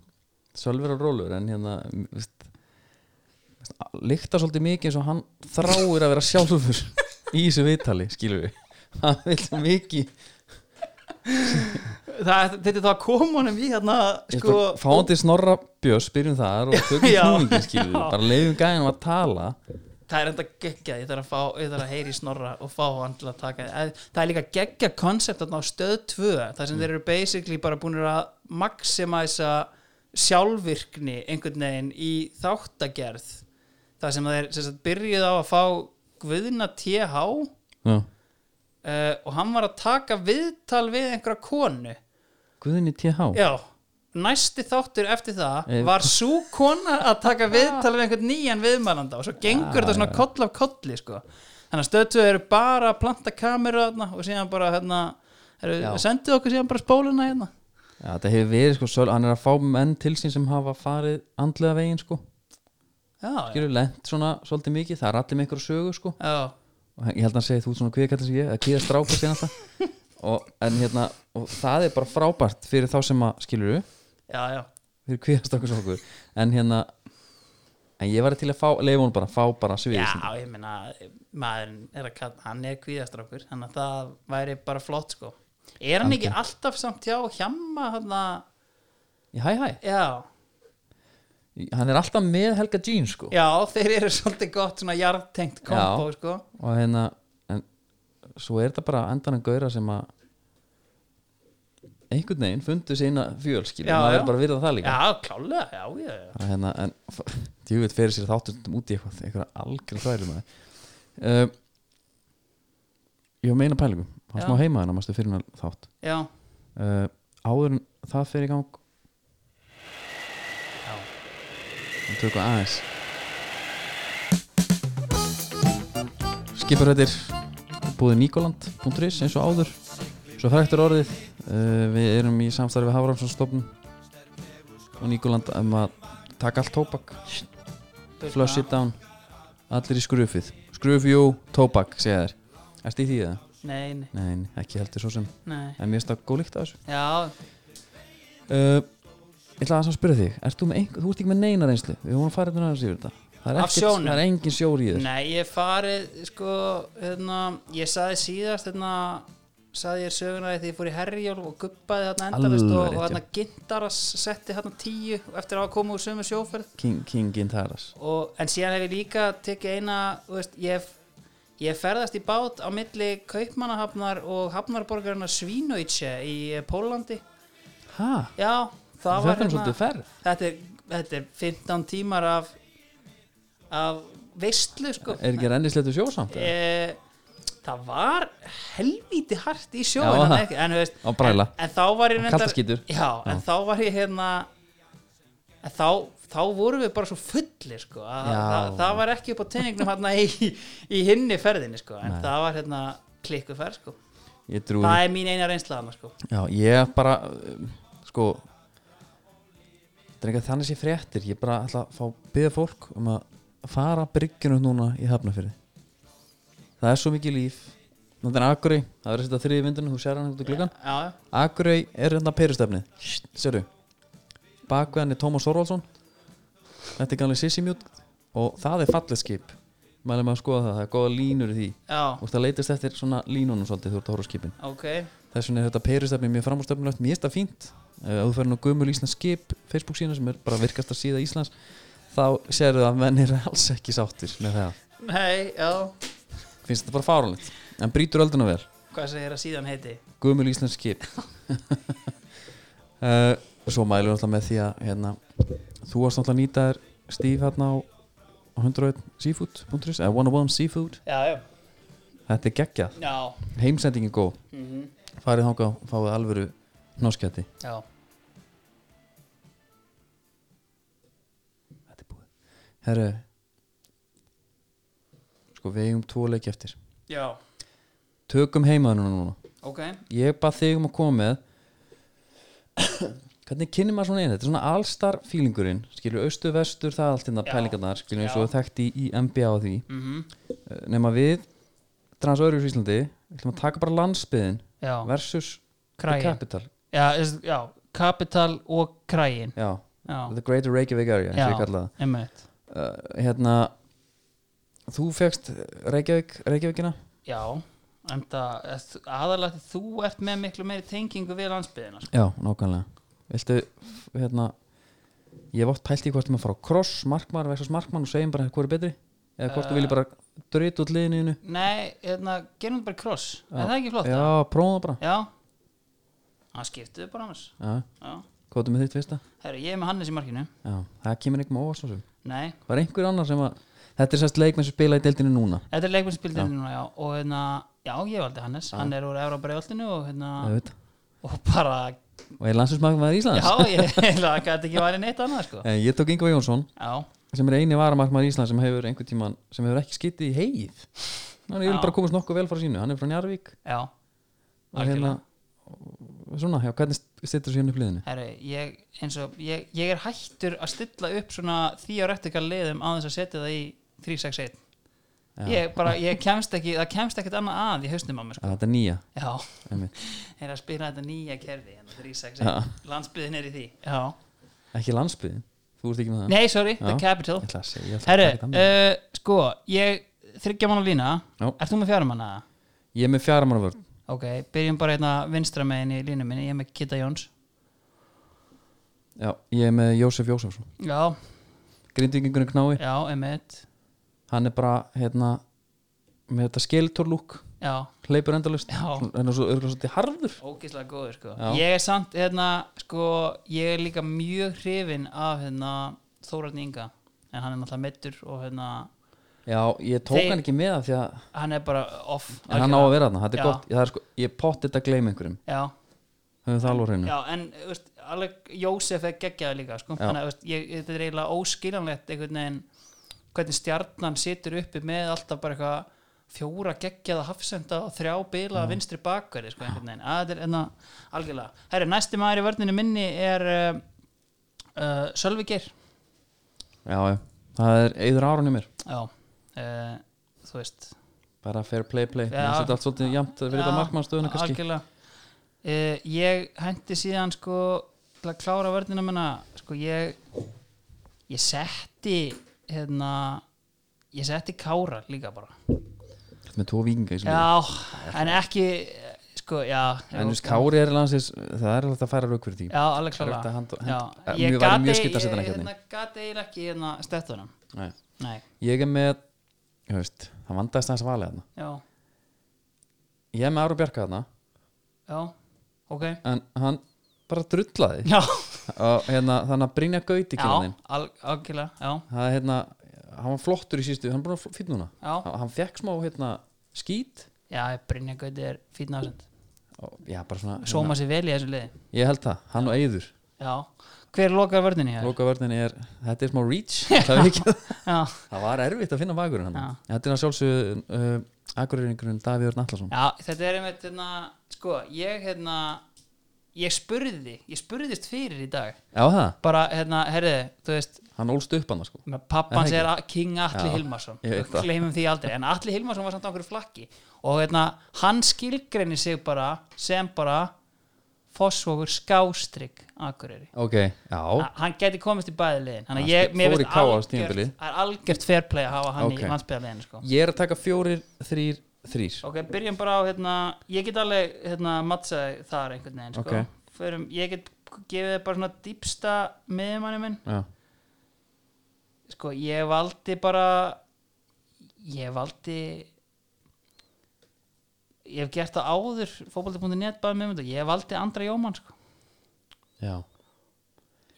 Sölvi er að rólur en hérna veist, veist, Líkta svolítið mikið eins og hann þráir að vera sjálfur Í þessu viðtali, skilur við Hann vil svo mikið
það, Þetta er þá að koma honum í hérna
sko,
sko
Fándið Snorra Björns byrjum þar og tökum
Já.
knúningin skilur við
Já.
Bara leiðum gæðin að tala
Það er enda geggja, ég þarf að, fá, ég þarf að heyri snorra og fá hann til að taka Eh, Það er líka geggja koncept á stöð 2 Það sem þeir eru basically bara búinir að maximæsa sjálfvirkni einhvern veginn í þáttagerð Það sem þeir sem sagt, byrjuð á að fá Guðna TH
Já.
uh, og hann var að taka viðtal við einhverja konu
Guðinni TH
Já, næsti þáttur eftir það
Ef-
var svo kona að taka viðtal við einhvern nýjan viðmælanda og svo gengur þetta svona koll af kolli sko. þannig að stöðtöð eru bara að planta kamera þarna, og síðan bara hérna,
Já.
eru, sendið okkur síðan bara spóluna hérna
Já, þetta hefur verið sko, söl, hann er að fá menn til sín sem hafa farið andlega veginn sko,
Já, já,
skilur lent svona svolítið mikið, það er allir með ykkur sögu sko
já,
og hann- ég held að hann segi þú ert svona kviðkallin sem ég, eða kviða stráka sem alltaf og, en hérna, og það er bara frábært fyrir þá sem að, skilur við
já, já.
fyrir kviðast okkur sem okkur en hérna, en ég var til að fá leifa hún bara, fá bara sviðið sín.
já ég meina maðurinn er að kalla, hann er kvíðastrákur þannig að það væri bara flott sko. er hann ekki alltaf samt hjá hjamma hérna,
Í hæ hæ,
já
hann er alltaf með Helga Jean sko
Já, þeir eru svolítið gott svona jarðtengt kombo,
Já.
sko
og hérna, en svo er þetta bara endanum gauðra sem að einhvern veginn fundu sína fjölskil
Já,
maður
já.
er bara að virða það líka
Já, klálega, já, já, já
Að hérna, en djúvitt fyrir sér þáttundum út í eitthvað einhverja algjör þvælu maður uh, ég var meina pælingum hann
Já.
smá heima hennar mástu fyrir hennar þátt
Já,
uh, áður en það fer í gang
já,
hann tökum aðeins skipurhættir búið nikoland.is eins og áður svo fræktur orðið uh, við erum í samstarfi við Haframsson og Nikoland um að taka allt tóbak flush it down allir í skrufið skrufjú, tóbak, segja þær Erst í því það?
Nei, nei,
Nei, ekki heldur svo sem
nei
En mér stakk góð líkt að þessu
Já,
uh, Ég ætla aðeins að spyrja þig ert þú, með einhver, þú ert ekki með neina reynslu Við vorum að fara þetta aðeins yfir þetta Það er,
Af sjónum?
það er engin sjór í þér
nei, ég hef farið, sko, hérna Ég saði síðast, hérna Saði ég sögunaði því ég fór í herjálf og guppaði þarna endalist
Alveg
og,
rétt, já.
og hérna Gintaras setti hérna tíu eftir að hafa komið úr sömu sjóferð
King, King Gintaras
og, en síðan hef ég líka tekið eina þú veist, ég, hef, ég hef ferðast í bát á milli Kaupmannahafnar og Hafnarborgarna Svínöytse í eh, Pólandi
Hæ?
já, það
Þetta
var hérna-
er nú svolítið ferð
þetta, er, þetta er 15 tímar af af veistlu sko
Er ekki rennisleitu sjó samt? eða?
e, það var helvíti hart í sjó
Já,
en,
það.
ekki, en, þú veist,
Á bræla.
en, en þá var ég
Á
reyndar-
kaldaskítur.
já, en þá var ég hérna en þá, þá vorum við bara svo fullir sko, að
Já.
það, það var ekki upp á teiningnum hérna í, í hinni ferðinni sko, en
Nei.
það var hérna klikku ferð sko,
Ég trúi
það er mín eina reynsla hana sko,
Já, ég bara um, sko þetta er ekki að þannig sé fréttir ég bara ætla að fá byggja fólk um að fara bryggjunum núna í hafnafyrði það er svo mikið líf þannig er Akurey, það er þetta þriði vindunum þú sér hann út í gluggan
já, já,
Akurey er hérna perustefnið sérðu, bakveðan er Tómas Þorvaldsson þetta er ganlega Sissi Mjút og það er fallið skip mælum að skoða það, það er góða línur í því
já,
og það leitist eftir svona línunum svolítið þú ert að horfa á skipin
ok
þess vegna er þetta perustefni mjög framúrstefnilegt mér er þetta fínt ef þú ferð nú gömul Íslands skip Facebook sína sem er bara virkast að síða Íslands þá sérðu að menn er alls ekki sáttir með það
nei, já,
finnst þetta bara fáránlegt en brýtur ölduna vel
hvað segir að síðan heiti
gömul Íslands skip uh, svo mælum við alltaf með því að hérna, þú varst alltaf að nýta þér stíf hérna á 101seafood.is eða 101seafood
já, já,
þetta er geggjað
Já,
heimsendingin góð
mm
Mhm. farið þangað og fáið alvöru náskjætti
já
þetta er búið herru sko við eigum tvo leik eftir
Já,
tökum heimaðinu núna
ok
ég bað þig um að koma með hvernig kynni maður svona einu þetta er svona allstar feelingurinn skilur austu vestur það allt innan
Já.
pælingarnar skilur eins
Já.
og er þekkt í, í NBA og því
mm
Eh, nema við trans öðru í Íslandi við ætlum að taka bara landsbyðin
Já,
versus the
kræin
capital
já, is- já, kapital og kræin
já,
Já,
the greater Reykjavík area eins og ég
Já.
kalla það
emmitt
uh, hérna þú fegst Reykjavík Reykjavíkina
Já, en það aðalega þú ert með miklu meiri tengingu við landsbyðina sko.
Já, nákvæmlega Viltu, hérna Ég hef oft pælt í hvort maður fara á kross markmann versus markmann og segjum bara hvað er betri eða hvort þú vilji bara dröyt út liðinu þínu.
Nei, hérna, gerum þetta bara kross Er það ekki flott?
Já, prófum það bara
Já Það skiptu bara annars
Já,
Já,
hvað er með þitt fyrsta?
herru, ég er með Hannes í markinu
Já, það kemur einhver með óvast þessum
Nei,
Var einhver annar sem að Þetta er sérst leikmenn sem spila í deildinu núna
þetta er leikmennspildin núna, já Og hérna, já, ég valdi Hannes Hann er úr Evra Breiðoltinu og hérna
Já, veit
Og bara,
Og ég landsinsmakum maður Íslands
já, ég heila gæti ekki væri neitt annað, sko
En ég tók Ingvar Jónsson
Já,
sem er eini varamarkmaður Íslands sem hefur einhvern tíman sem hefur ekki skitið í heið Þannig ég vil
Já.
bara komast nokkuð vel frá sínu Hann er frá Njarvík
já
og hérna
hérna,
og- Svona, já, hvernig stittur sér upp liðinu?
Herru, ég, eins og, ég, ég er hættur að stilla upp svona theoretical liðum á þess að setja það í 361 ég, bara, ég kemst ekki, það kemst ekkert annað að í hausnum á mér sko.
Já, þetta er nýja
já,
einmitt.
ég er að spila þetta nýja kerfi hérna, 361,
Já.
landsbyðin er í því já,
Ekki landsbyðin, þú ert ekki með það
nei, sorry, the
Já.
capital
Ég ætla að segja ég ætla að
herru,
taka það með.
uh, sko ég, þryggja mann á lína
Já.
ert þú með fjára manna?
Ég er með fjara manna vörn
ok, byrjum bara hérna vinstra megin í línu minni, ég er með Kitta Jóns
Já, ég er með Jósef Jósefsson
já,
Grindvíkingunum knái,
já, emitt
hann er bara hérna, með þetta skeletorlúk
já,
hleypur endalust
Já.
en svo örgulega svolítið harður
ógeðslega góður sko
Já.
ég er samt, hérna, sko ég er líka mjög hrifin af hérna, Þórarni Inga en hann er náttúrulega meittur og hérna
Já, ég tók
Þeir-
hann ekki með það því að
hann er bara off
en hann á að vera þarna, þetta er
Já.
gott það er sko, ég potti þetta að gleyma einhverjum
já,
höfum það alveg á hreinu
já, en veist, alveg Jósef er geggjaður líka sko
Já.
þannig að veist, ég, þetta er eiginlega óskiljanlegt einhvern veginn hvernig stjarnan situr uppi með alltaf bara eitthvað fjóra geggjaða hafsenda og þrjá bila vinstri bakverði sko einhvern veginn að þetta er enna algjörlega herri, næsti maður í vörninu minni er uh, uh, Sölvi Geir
Já, já, það er eður árunni mér
Já, uh, þú veist
bara fair play play,
Já.
það setja allt svolítið jæmt fyrir þetta markmannstöðuna kannski
Algjörlega uh, Ég hendi síðan sko til að klára vörnina minna sko ég ég setti hérna ég setti Kára líka bara
Þetta með tvo vikinga í sem
Já, en ekki eh, sko, já
En þú veist, Kári er landsins, það er alltaf að færa rauk fyrir því.
Já, alveg
Það er hægt að
klára
hand-
Já,
hand-
Ég
mjög- væri
gat
mjög
ei-
skylt að setja hann
ég,
ekki
hérna, gat eiginlega ekki hérna stettunum
Nei.
Nei,
Ég er með, ég veist, það vandaðist aðeins að valið þarna.
já,
Ég er með Áru Bjarka þarna,
já, ok
en hann bara drullaði.
Já,
Og hérna, þannig að Brynja Gauti
já,
kynnaðinn,
al- algjörlega, já
það er hérna, hann var flottur í sístu, hann er búin að fýtt núna.
Já.
Hann, hann fekk smá, hérna, skít.
Já, Brynja Gauti er fínn ásend
Og, já, bara svona,
Sóma sér vel í þessu liði
ég held það, hann og Eyður.
Já, hver lokar vörninni hér?
Lókavörnin er, þetta er smá reach, það er ekki.
Já,
Það var erfitt að finna bakurinn hann. Þetta er að sjálfsögðu uh, akureyringurinn Davíður Nallarsson.
já, þetta er einmitt hérna, sko, ég hérna ég spurði, ég spurðist fyrir í dag
Já, það,
bara, hérna, herriði, þú veist
hann ólst upp hann, sko.
pappans
Er það
er a- King Atli
Já,
Hilmarsson
ég veit það.
gleymum því aldrei, en Atli Hilmarsson var samt á okkur flakki og hérna, hann skilgreinir sig bara sem bara fósvogur skástrygg akureyri
Ok, já,
Að hann geti komist í bæði liðin þannig að
Hann
ég,
spil-
mér
fór í
finnst
KA á
algjört,
tímabilið.
það er algjört fair play að hafa hann
Ok.
í landsbyðarliðin sko.
Ég er að taka fjórir, þrýr, þrýr
ok, byrjum bara á hérna, ég get alveg hérna, mattsa þar einhvern veginn sko.
Ok.
Förum, ég get gefið þér bara svona dýpsta miðmanni minn
Já,
sko, ég valdi bara ég valdi ég hef gert það um áður fótbolti.net bara miðmann ég valdi Andra Jómann sko.
já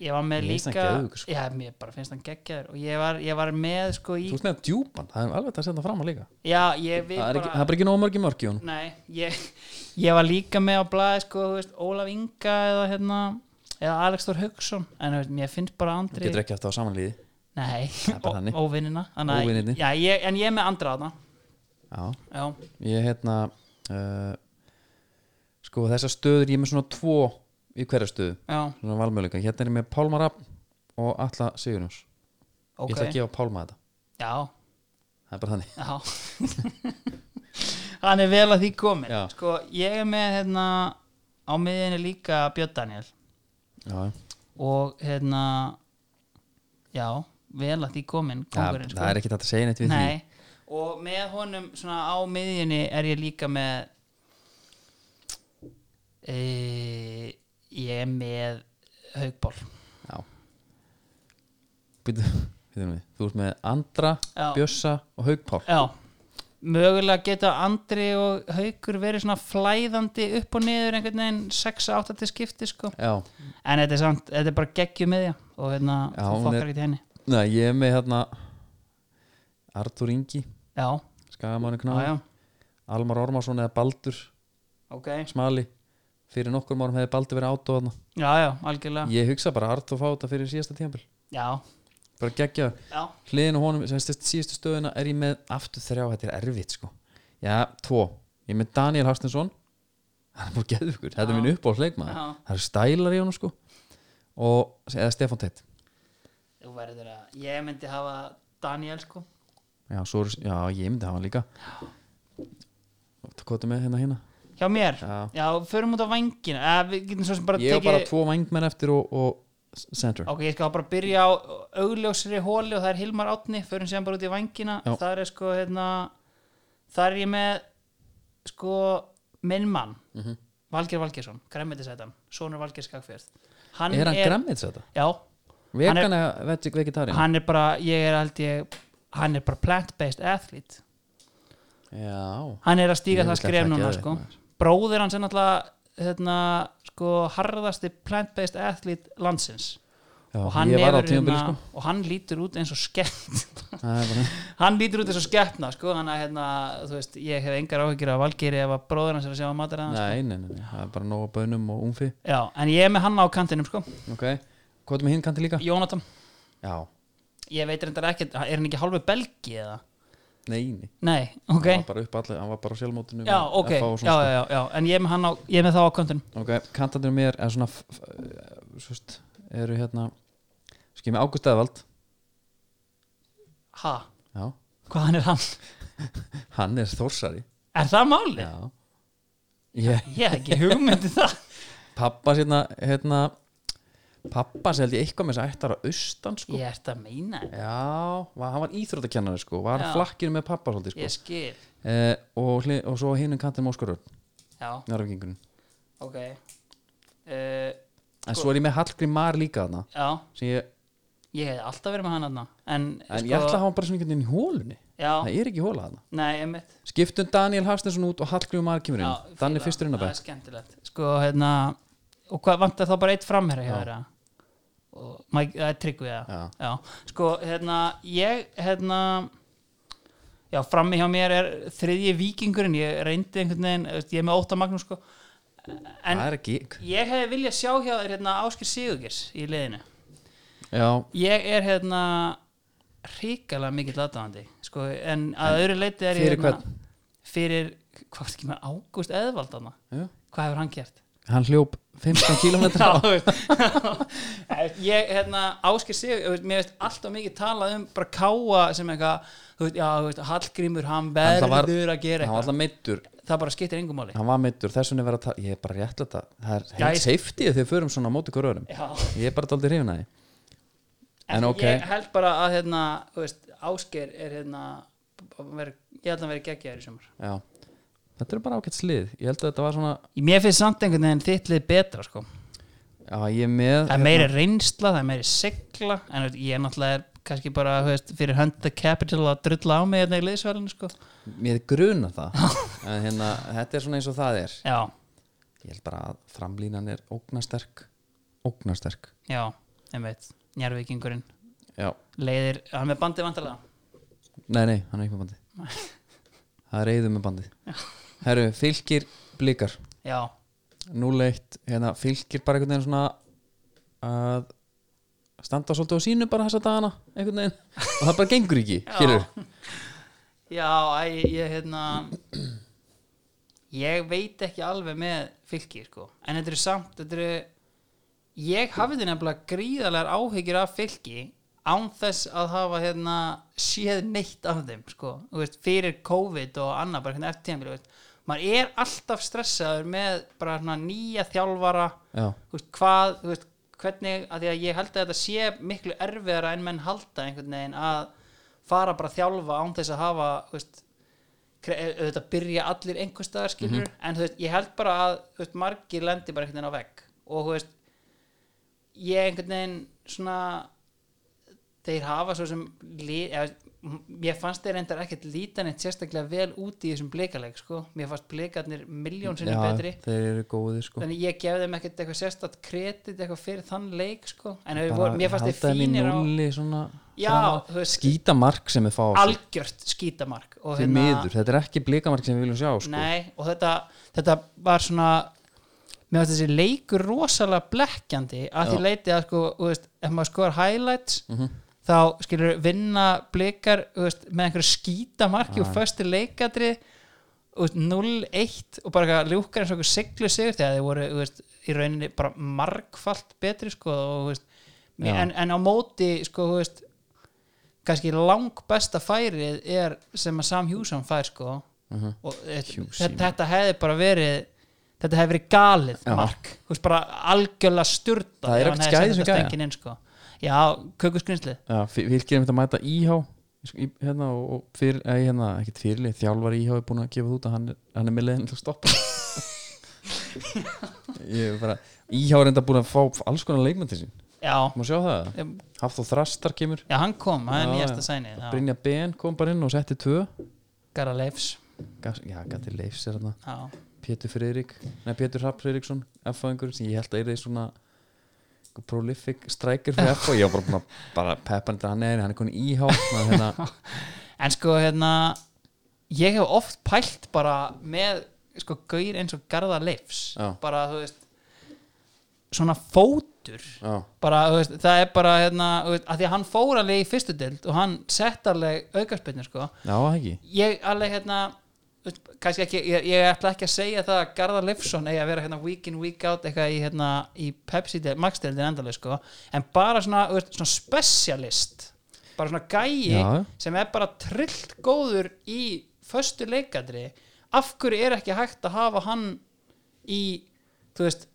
ég var með
Mér finnst
líka
hann geðveikur, sko.
já, mér bara finnst hann geggjaður og ég var, ég var með sko í
Þú veist neða djúpan, það er alveg hægt að setja fram að líka
já, ég við
Það er, ekki, það
bara
er bara ekki nóg mörg í mörg í honum
nei, ég, ég var líka með á blaði sko, þú veist, Ólaf Inga eða hérna, eða Alex Þór Hauksson en þú veist, mér finnst bara
Þú
Andri
getur ekki haft það á samanlíði
nei,
er bara þannig.
ó- óvinnina þannig að-
Óvinirnir.
já, ég, en ég er með Andra þarna
Já,
já,
ég hérna uh, Sko þessar stöður, ég er með svona tvo í hverja stöðu
já,
Svona valmöðleika, hérna er ég með Pálma Rappn og Alla Sigurjóns Ég ætla
ok
að gefa Pálma þetta,
já,
það er bara þannig
Já Hann er vel að því komin
Já.
Sko, ég er með hérna á miðinni líka Björn Daniel
Já,
og hérna já, vel að því sko. komin
það,
kongurinn,
það er ekki þetta að segja neitt við því
Nei, og með honum svona á miðjunni er ég líka með e, ég er með haugból
Já Býtu, býtu nú við. Þú ert með Andra,
Já.
Bjössa og Haugpál
Já, mögulega geta Andri og Haukur verið svona flæðandi upp og niður einhvern veginn 6-8 til skipti sko
Já,
en þetta er samt, þetta er bara geggjum með og hérna,
Já,
þú
hún
fokkar
er-
ekki til henni
Nei, ég er með hérna Artur Ingi
Já,
Skagamannu
já,
Knáð,
já,
Almar Ormarsson eða Baldur
ok
Smali Fyrir nokkur árum hefði Baldur verið átó þarna
Já, já, algjörlega
Ég hugsa bara að Artur fá þetta fyrir síðasta tímpil
Já,
Bara geggja
já,
hliðin og honum sem stið, síðustu stöðuna er ég með aftur þrjá, þetta er erfitt sko Já, tvo, ég er með Daniel Harstensson hann er búið geðugur, þetta er minn uppáhaldsleikmaður
Já.
það er stælar í honum sko og, eða Stefán Teitt
þú verður að ég myndi hafa Daniel sko
já, svo, er- já, ég myndi hafa hann líka hvað er með hérna hérna
Hjá mér,
Já.
já, förum út á vængina eða við getum svo sem bara
ég á bara tvo vængmenn eftir og, og center
Ok, ég skal bara byrja á augljósri hóli og það er Hilmar Átni, förum séðan bara út í vangina
Já.
þar er sko, hérna þar er ég með sko, minn mann mm
Mhm.
-hmm. Valgeir Valgeirsson, græmmetisætan Sónur Valgeir Skagfjörð hann
er hann er... grammits þetta?
Já,
vegan eða vegetarian?
hann er bara, ég er held ég hann er bara plant-based athlete
já,
hann er að stíga
Ég
það
vil
skref
þetta
núna
geðveikt,
sko.
maður.
bróðir hans er náttúrulega hérna, sko, harðasti plant-based athlete landsins
já
og hann,
ég var á
hefur
tímabili
hérna-
sko
og hann lítur út eins og skemmt
það er bara
hann lítur út eins og skeppna sko, hann að hérna, þú veist, ég hef engar áhyggjur af Valgeri ef að bróður hans er að sjá að matur hans
Nei, nei, nei, nei, það er bara nóg af bönum og umfi
já, en ég er með hann á kantinum sko
Ok, hvað er með hinn kanti líka?
Jónatan,
Já,
ég veit reyndar ekki er hann ekki hálfu belgi eða?
nei, nei
Nei, ok,
Hann var bara upp allir, hann var bara á sjálfmótinu
já, ok já, já,
sko.
já, já, en ég er með hann á, ég er með þá á kantinum
Ok, kantarnir mér er svona f- f- eh, svo veist, eru hérna skil með Ágúst Eðvald
ha,
Já,
hvaðan er hann?
hann er þórsari
Er það máli?
Já Ég,
Ég hef ekki hugmyndi það
pappa sérna, hérna pappa sérði eitthvað með þess að ættar á austan sko
Ég ert að meina þetta.
Já, var, hann var íþróttakennari sko var
Já.
flakkinu með pappa svolítið sko
Ég skil,
eh, og, hli- og svo hinnum kantinum Óskarur
já,
Njárvíkingurinn
ok uh,
En svo er ég með Hallgrím Mar líka þarna
Já,
sem ég,
ég hef alltaf verið með hann þarna En,
en ég ætla að hafa hann bara svona einhvern veginn í hólunni
Sko- Já,
það er ekki hóla þarna
nei, einmitt
skiptum Daniel Hafstensson út og Hallgrímur Mar kemur
Já,
inn þannig
fíla.
fyrstur inn að
það er skemmtilegt sko, hérna, og hvað vantar þá bara eitt framherra hjá þeirra og eh, maður- það er tryggu ég
Já.
sko, hérna, ég hérna já, frammi hjá mér er þriðji vikingurinn, ég reyndi einhvern veginn þú veist, ég er með óta magnum sko en
það er ekki
ég hefði viljað sjá hjá þér hérna Áskir Sigurgers í liðinu
já,
ég er hérna ríkalega mikill aðdáðandi sko, en að öðru leiti er ég
fyrir
hérna, fyrir, hvað er ekki með Ágúst Eðvald þarna?
já.
hvað hefur hann gert?
hann hljóp 15 km
Já, þú veist. ég, hérna, Ásker Sigur þú veist, mér veist alltaf mikið talað um bara káa sem eitthvað þú veist, já, þú veist, Hallgrímur, hann
En það var-
verður að gera
hann var
eitthvað
alltaf meittur
það bara skiptir engum máli
hann var meittur, þess vegna er verið að tala ég er bara rétt að það, það er heilt
Gæs-
safety þegar við förum svona á móti hver öðrum
já.
ég er bara daldið hrifin að því en ok,
ég held bara að hérna, þú veist, Ásker er hérna veri, ég held að hann verið geggjaður í sumar
já þetta er bara ágætt slið, ég held að þetta var svona
mér finnst samt einhvern veginn þittlið betra sko.
já, ég er með
það er meiri reynsla, það er meiri sigla en þú veist, ég náttúrulega er kannski bara þú veist, fyrir hönd the capital að drulla á mig hérna í liðsverðinu sko.
mér gruna það en hérna, þetta er svona eins og það er
já,
ég held bara að framlínan er ógnasterk ógnasterk
já einmitt, njárvíkingurinn
já,
leiðir, hann er með bandið vantarlega
nei, nei, hann er ekki með bandi það er reyður með bandi herru, fylgir blikar
já,
0-1, hérna fylgir bara einhvern veginn svona að standa svolítið á sínu bara þessa dagana einhvern veginn og það bara gengur ekki
Já.
skilur,
já, æ, ég hérna ég veit ekki alveg með fylki sko, en þetta eru samt þetta eru, ég hafði nefnilega gríðarlegar áhyggjur af fylki án þess að hafa hérna séð neitt af þeim sko, þú veist, fyrir COVID og annað bara hérna eftir tíðanbíl, veist maður er alltaf stressaður með bara svona nýja þjálfara
já,
þú veist, hvað, þú veist, hvernig að því að ég held að þetta sé miklu erfiðara en menn halda einhvern veginn að fara bara að þjálfa án þess að hafa þú veist, kre- eh, auðvitað byrja allir einhvers staðar skilur en þú veist, ég held bara að þú veist, margir lendi bara einhvern veginn á vegg og þú veist, ég einhvern veginn svona þeir hafa svo sem lið, eða, m- ég fannst þeir reyndar ekkert lítan eitt sérstaklega vel út í þessum bleikaleik sko, mér fannst bleikarnir miljón sinni betri
já þeir eru góðir sko
þannig ég gef þeim ekkert eitthvað sérstætt kredit eitthvað fyrir þann leik sko. en þeir
bara
voru, mér fannst
halda
þið
þeim í
fínir á
núlli svona
Já,
framan af.
þú veist-
skýta mark sem við fá sko,
algjört skítamark og, hérna
því miður, þetta er ekki blikamark sem við viljum sjá sko.
nei, og þetta, þetta var svona mér fannst þessi leikur rosalega blekkjandi að því leiti að sko, þú veist, ef maður skoðar highlights
Mhm.
þá skilur vinna blikar þú veist, með einhverju skítamarki og föstu leikadri þú veist, 0-1 og bara eitthvað ljúkar eins og einhver siglu sigur þegar þeir voru þú veist, í rauninni bara margfalt betri sko, og, þú veist,
Já.
en, en á móti sko, þú veist, kannski lang besta færið er sem að Sam Hjússon fær sko og þetta, þetta hefði bara verið þetta hefði verið galið
Já.
mark Þú veist, bara algjörlega styrta
Það er ekkert skæði sem gæja.
inn, sko. já, kökuskrinslið
já, fylgir einmitt að mæta íhá í- hérna og og fyrir, ei, hérna, ekkert fyrirlið þjálfar íhá er búin að gefa það út að hann, er- hann er með leiðin til að stoppa ég er bara íhá er enda búin að fá alls konar leikmenn til sín
já,
má sjá það, Hafþór Þrastar kemur
já, hann kom, það er
Já,
nýjasta
já.
sænið já.
Brynja Ben kom bara inn og setti tvö
Gara Leifs
Gas, já, gæti leifs er þarna
já,
Pétur Friðrik, nei Pétur Rapp Friðriksson F-fæðingur sem ég held að er svona einhver prolific striker fyrir F og ég var bara búin að bara peppa hann til hann er hann er konið íhá maður hérna,
en sko hérna ég hef oft pælt bara með sko gaur eins og Garða Leifs
Já.
bara þú veist svona fótur
já,
bara, þú veist, það er bara hérna, þú veist, að því að hann fór alveg í fyrstu dild og hann sett alveg aukarspennir sko.
já, það ekki
ég alveg hérna þú veist, kannski ekki, ég, ég ætla ekki að segja það að Garðar Leifsson eigi að vera hérna week in week out eitthvað í, hérna, í Pepsi Max-dildin endalega sko, en bara svona, þú veist, svona specialist bara svona gæi
Já.
sem er bara trillt góður í föstu leikadri af hverju er ekki hægt að hafa hann í, þú veist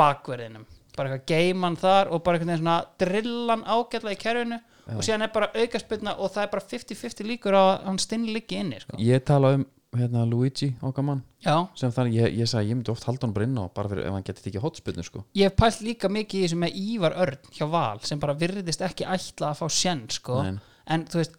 bakverðinum, bara eitthvað geiman þar og bara einhvern veginn svona drillan ágætla í kerfinu og síðan er bara aukaspilna og það er bara 50-50 líkur á að hann stinn liggi inni, sko
ég tala um hérna, Luigi okkar mann
Já,
sem þannig, ég, ég sagði, ég myndi oft halda hann bara inn á bara fyrir ef hann getið ekki hotspilnu sko
ég hef pælt líka mikið í þessu með Ívar Örn hjá Val sem bara virðist ekki ætla að fá sjenn, sko
Nei.
en þú veist,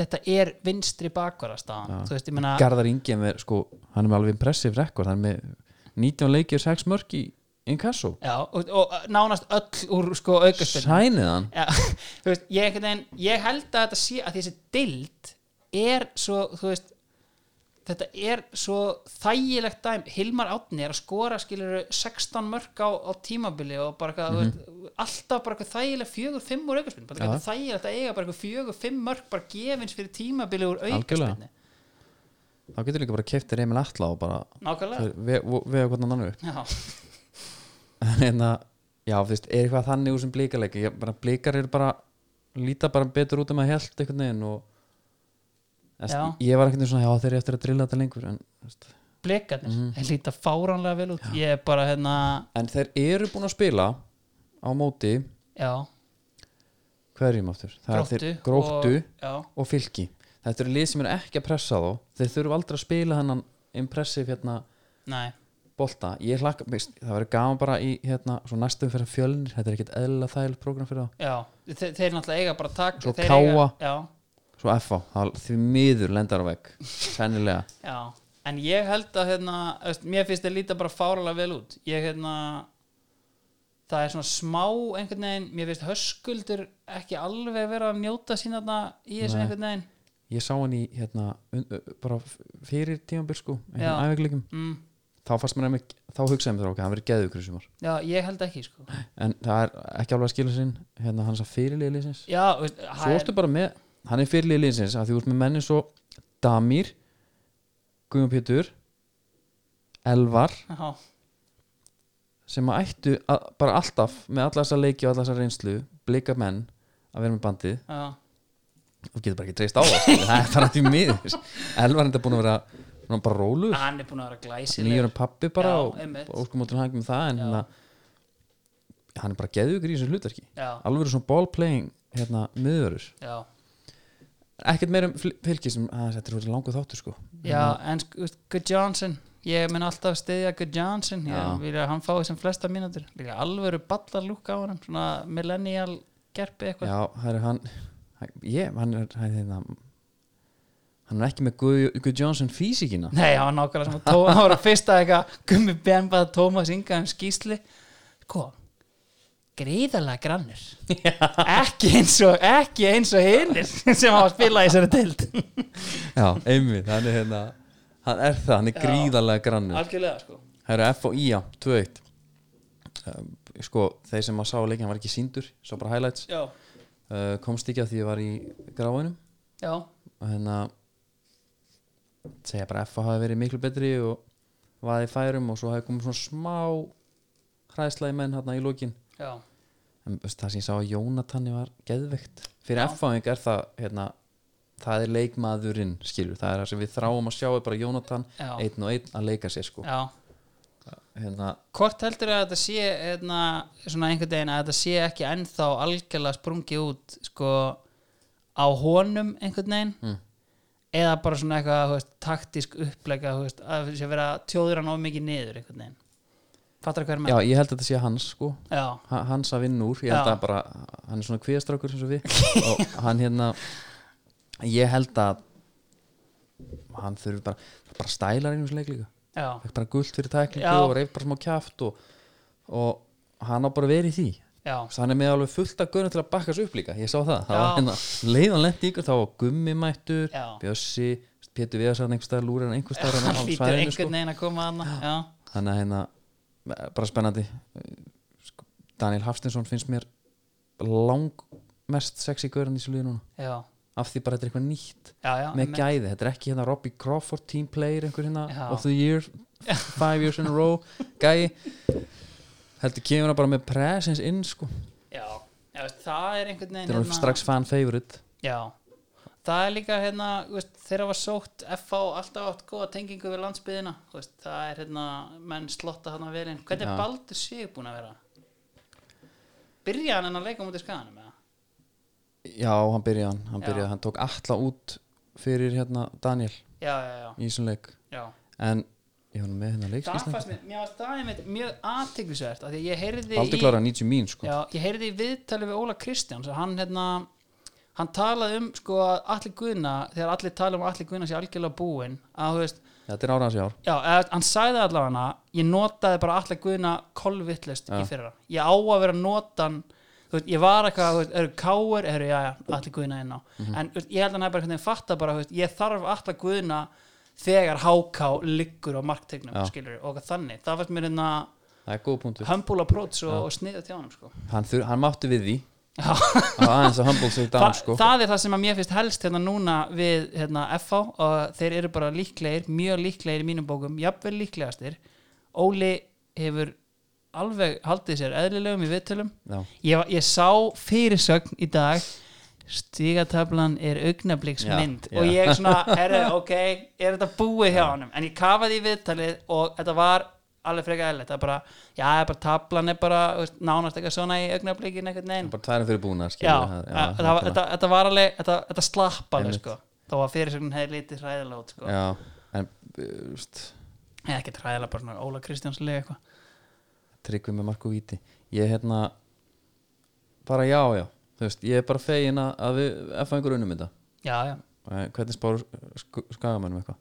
þetta er vinstri bakvarðastaðan, þú veist, ég meina
Garðar Ingi er með, sko, hann er með alveg impressive rekord, hann er með 19 leikir 6 mörg í inkasso
Já, og, og nánast öll úr sko aukaspilna
sænið hann
Já, þú veist, ég, einhvern veginn, ég held að þetta sé að þessi dild er svo, þú veist þetta er svo þægilegt dæm, Hilmar Átni er að skora skilur 16 mörg á, á tímabili og bara eitthvað, þú veist, alltaf bara eitthvað þægileg fjögur, fimm úr aukaspilni bara eitthvað þægilegt að eiga bara eitthvað fjögur, fimm mörg bara gefins fyrir tímabili úr aukaspilni
Algjörlega. þá getur líka bara keftir Emil Atla og bara
Nákvæmlega,
þeir ve- vo- vega hvernig hann annar upp
já,
en hérna, já, þú veist, er eitthvað þannig úr sem blíkarleik, ég bara blíkar eru bara líta bara betur út um að held einhvern veginn og Þess,
Já.
ég var ekkert svona, já þeir eru eftir að drilla þetta lengur en, þú veist.
blekarnir þeir líta fáránlega vel út ég er bara hérna,
en þeir eru búin að spila á móti
já,
hverjum aftur, það er þeir gróttu
gróttu
og,
og, já,
fylki þetta eru lið sem eru ekki að pressa þó þeir þurfu aldrei að spila hennan impressive hérna
nei
bolta, ég hlakka, veist, það verður gaman bara í hérna, svo næstum fyrir fjölnir þetta er ekkert eðla þægilegt prógram fyrir
Já, þeir, þeir náttúrulega eiga bara tak
Svo
þeir
KA.
eiga, já,
þá svo FH, það því miður lendar á vegg sennilega,
já, en ég held að hérna, þú veist, mér finnst þeir líta bara fáralega vel út ég hérna það er svona smá einhvern veginn, mér finnst höskuldur ekki alveg vera að njóta sín þarna í þessu
Nei.
einhvern veginn
ég sá hann í hérna, un- ö- ö- bara f- fyrir tímabil sko
Já.
æfingleikum,
mm,
þá fannst mér einmitt þá hugsaði mér þá, ok, hann verið geðugur í sumar
já, ég held ekki sko
en það er ekki alveg að skila sinn hérna hans að fyrirliði liðsins
já, veist,
svo ertu bara með, hann er fyrirliði liðsins að því úr með menni svo Damir Guðjón Pétur Elvar
já,
sem að ættu að, bara alltaf með alla þessa leiki og alla þessa reynslu blika menn að vera með bandið
já,
þú getur bara ekki treyst á það skilur, það er bara því miður Elvar er þetta búin að vera svona bara róluður
hann er búin að vera glæsileg
nýjur en pappi bara
Já,
og
einmitt.
óskum áttur hann með það en
Já.
hérna hann er bara geðugur í þessu hlutverki
já,
alveg svona ball playing hérna miðurur
já,
ekkert meira um fl- fylki sem að þetta er orðið langur þáttur sko
já en sko, veist, Good Johnson ég mun alltaf stiðja Good Johnson
Já.
ég vil að hann fái sem flesta mínútur líka alvöru ballar lúka á hann svona millennial gerpi eitthvað
já, það er hann hann- ég, hann er hann, hérna, hann er ekki með Guð- Guð Johnson físikina
Nei, það var nákvæmlega sem að Tó- það var að fyrsta eitthvað Gummi Bjarnbað Tómas Inga um skýsli Sko greiðalega grannur ekki eins og ekki eins og hinnir sem hafa spilað í sér dild
já, einmitt, hann er hérna hann er það, hann er
Já.
gríðarlega grannur
Algjörlega sko
Það eru F og I, já, 2-1 um, Sko, þeir sem að sá leikin var ekki síndur, svo bara highlights
Já,
uh, komst ekki að því ég var í gráinum
já,
og hérna segja bara F hafi verið miklu betri og vaði færum og svo hafi komið svona smá hræðsla í menn hérna í lokin
já,
en veist, það sem ég sá að Jónatani var geðveikt
Já.
fyrir F hafingar er það hérna, það er leikmaðurinn skilur, það er það sem við þráum að sjá er bara Jónatan,
Já.
einn og einn að leika sér sko.
já
hérna,
Hvort heldur að þetta sé hérna, svona einhvern veginn að þetta sé ekki ennþá algjörlega sprungið út sko á honum einhvern veginn
Mm.
eða bara svona eitthvað þú veist, taktisk upplega veist, að sé vera tjóður hann of mikið niður einhvern veginn Fattar hver
já,
með?
ég held að þetta sé hans sko
Já,
Ha- hans að vinna úr ég held
Já.
að bara, hann er svona kviðastrákur sem svo við og hann hérna ég held að hann þurfi bara, bara stælar einu sem leik líka,
já,
fekk bara gult fyrir tæklingu
Já.
og reyf bara smá kjaft og, og hann á bara verið í því
já,
Svo hann er með alveg fullt af gönum til að bakka svo upp líka ég sá það, það
Já.
var hérna leiðan lent ykkur, þá var gummi mættur
já
Bjössi, Pétur Viðarsson einhver staðar, Lúrin einhver staðar á- á
Hann lítur
svæðinu, sko
einhvern veginn að koma að hana Já,
þannig að hérna bara spennandi Sko, Daniel Hafstinsson finnst mér lang mest sexy görðan í þessu liði núna
já,
af því bara þetta er eitthvað nýtt
já, já
með
einmitt.
gæði, þetta er ekki hérna Robbie Crawford team player einhver hérna
Já.
of the year five years in a row gæði heldur kemur hann bara með presence inn sko
Já, já, veist, það er einhvern veginn hérna-
þetta er hann strax fan favorite
Já, það er líka hérna, þú veist, þeirra var sótt FH alltaf átt góða tengingu við landsbyðina veist, það er hérna, menn slotta þarna vel inn
Já.
hvernig er Baldur Sig búin að vera? Byrja hann en að leika mútið skaganum eða?
já, hann byrjaði hann, hann,
Já.
byrjaði, hann tók alla út fyrir hérna Daniel
Já, já, já,
í þessum leik
já.
en ég var nú með hérna
Það
leikskísna
fannst mér, mér varst það einmitt mjög aðteglisvert af því að ég heyrði
Baldur klára 90 mín sko
Já, ég heyrði í viðtali við Óla Kristjáns og hann hérna hann talaði um sko að allir guðna þegar allir tala um að allir guðna sé algjörlega búin að þú veist,
Þetta er árans í ár
Já, eða, hann sagði allavega hana ég notaði bara alla guðina kolvittlust
Já.
í fyrra, ég á að vera notan þú veist, ég var eitthvað, þú veist, eru káur eru, já, já, alla guðina inn á
Mhm.
en þú veist, ég held að hann hafi bara hvernig fatta bara, þú veist, ég þarf alla guðina þegar háká liggur á marktegnum,
Já.
skilur, og eitthvað þannig það fannst mér hérna
Það er góð punktur
humble approach og, og sniða til honum, sko
Hann, þur, hann mátti við því
Já.
Það var aðeins að humble sig
Þa,
down sko
það er það sem að mér finnst helst hérna núna við hérna, FH og þeir eru bara líklegir, mjög líklegir í mínum bókum, jafnvel líklegastir Óli hefur alveg haldið sér eðlilegum í viðtölum
Já,
ég, var- ég sá fyrirsögn í dag stígatablan er augnabliksmynd
Já, já.
og ég svona, herru, ok er þetta búið hjá honum, en ég kafaði í viðtalið og þetta var alveg frekar eðlilegt, það er bara, já, bara tablan er bara, þú veist, nánast eitthvað svona í augnablikin einhvern veginn
bara tværa fyrir búna skilur,
já,
það-
já
já,
þetta, var-
nákvæmlega.
þetta, þetta var alveg þetta, þetta slapp alveg
Einmitt.
sko þó að fyrirsögnin hefði litið hræðilega út sko.
Já, en uh, veist,
eða ekki hræðilega, bara svona Óla Kristjáns lega eitthvað
Tryggvi með Marko Víti Ég hérna Bara já, já Þú veist, ég er bara fegin að- að við F einhver unnum þetta
já, já,
Eh, Hvernig spáru sk skagamennum eitthvað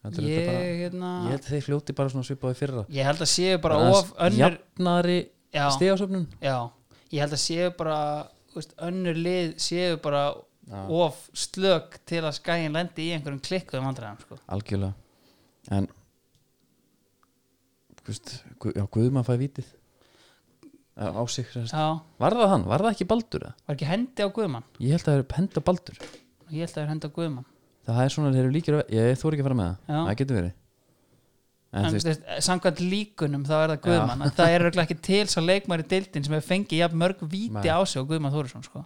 Heldur
ég,
þetta bara-
hérna,
Ég held
ég,
að þeir fljóti bara svona svipaði fyrra
held að séu bara
Aðeins
of önnur
Jafnari
já,
stegasöfnun
já ég held að séu bara þú veist, önnur lið séu bara of slök til að skæin lendi í einhverjum klikkuðum vandræðum sko.
algjörlega en hvist, gu, já, Guðmann fæði vítið Eða á sig sem sagt.
já,
var það hann, var það ekki Baldur eða?
var ekki hendi á Guðmann
ég held að það eru henda Baldur
ég held að það er hendi á Guðmann
það er svona, þeir eru líkir, að- ég þóri ekki að fara með
Já.
það það getur verið en, þú
en, en
veist,
veist, samkvæmt líkunum þá er það Guðmann en það er örugglega ekki til sá leikmæri deildin sem hefur fengið jafn mörg víti
Nei.
á sig og Guðmann Þórisson sko.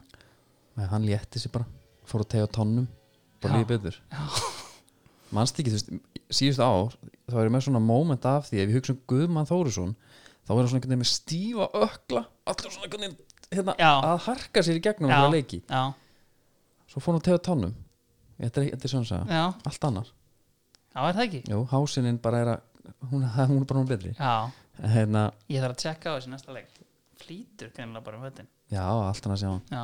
Nei, hann létti sér bara fór að tegja á tónnum bara
Já.
lífið betur mannst ekki, þú veist, síðust ár þá erum við svona moment af því ef við hugsa um Guðmann Þórisson þá er hann svona einhvern veginn með stífa ökla allur svona einhvern veginn hérna,
Já.
að harka sér í gegnum
Já.
þegar leiki
já,
svo fór hann að tegja á tónnum þetta er, þetta er svona að segja,
já,
allt annar
já, er það ekki
Jú, hásinin bara er að hún, hún er bara hún betri
já,
En hérna,
ég þarf að tjekka á þessu næsta leik flýtur kannilega bara um höttin
já, allt annar að sjá hann
já,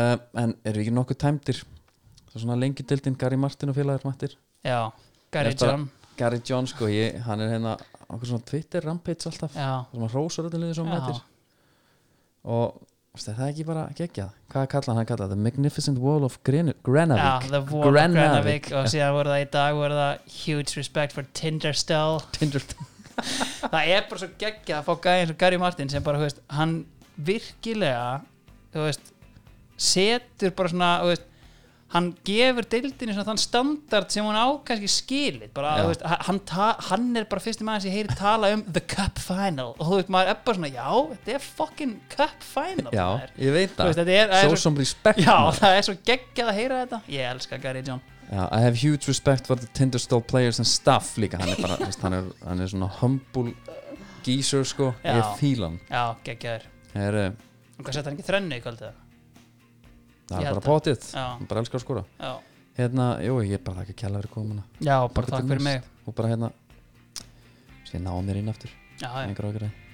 uh, en eru ekki nokkuð tæmdir það er svona lengi dildin Gary Martin og félagar mættir
já, Gary
Ég bara-
John
Gary John sko, ég, hann er hérna okkur svona Twitter rampage alltaf
já,
sem hann rósar öllu liðið sem hann
já,
mætir og veist, það er ekki bara geggjað hvað kalla hann, hann kalla The Magnificent Wall of Gren
já,
Grenavik
The Wall of Granavik og síðan voru það í dag voru það Huge Respect for Tinderstell
Tinder
það er bara svo geggjað að fá gæði eins og Gary Martin sem bara, þú veist, hann virkilega, þú veist setur bara svona, þú veist hann gefur deildinni svona þann standard sem hún á kannski skilið bara,
Já.
þú veist, ha- hann, ta- hann er bara fyrsti maður sem ég heyri tala um the cup final og þú veist, maður er bara svona, já, þetta er fucking cup final
Já,
maður.
ég veit
Þú veist,
það
þetta er, það
Show
er svo,
some respect
já,
maður.
það er svo geggjað að heyra þetta ég elska Gary John
já, I have huge respect for the Tinderstall players and staff líka hann er bara, veist, hann, er, hann er svona humble geezer sko, ég
Já.
fíla hann
já, geggjaður,
það er, eh,
og hvað setja hann ekki þrennu í kvöldið
það er
Ég held
bara
það.
potið
já,
bara elskar að skora
já,
hérna, jú, ég er bara þakka kjalla fyrir komuna
já, bara
Þangað til
takk fyrir
næst.
mig
og bara hérna sem ég náði mér inn aftur
já, já.
einhver ákveð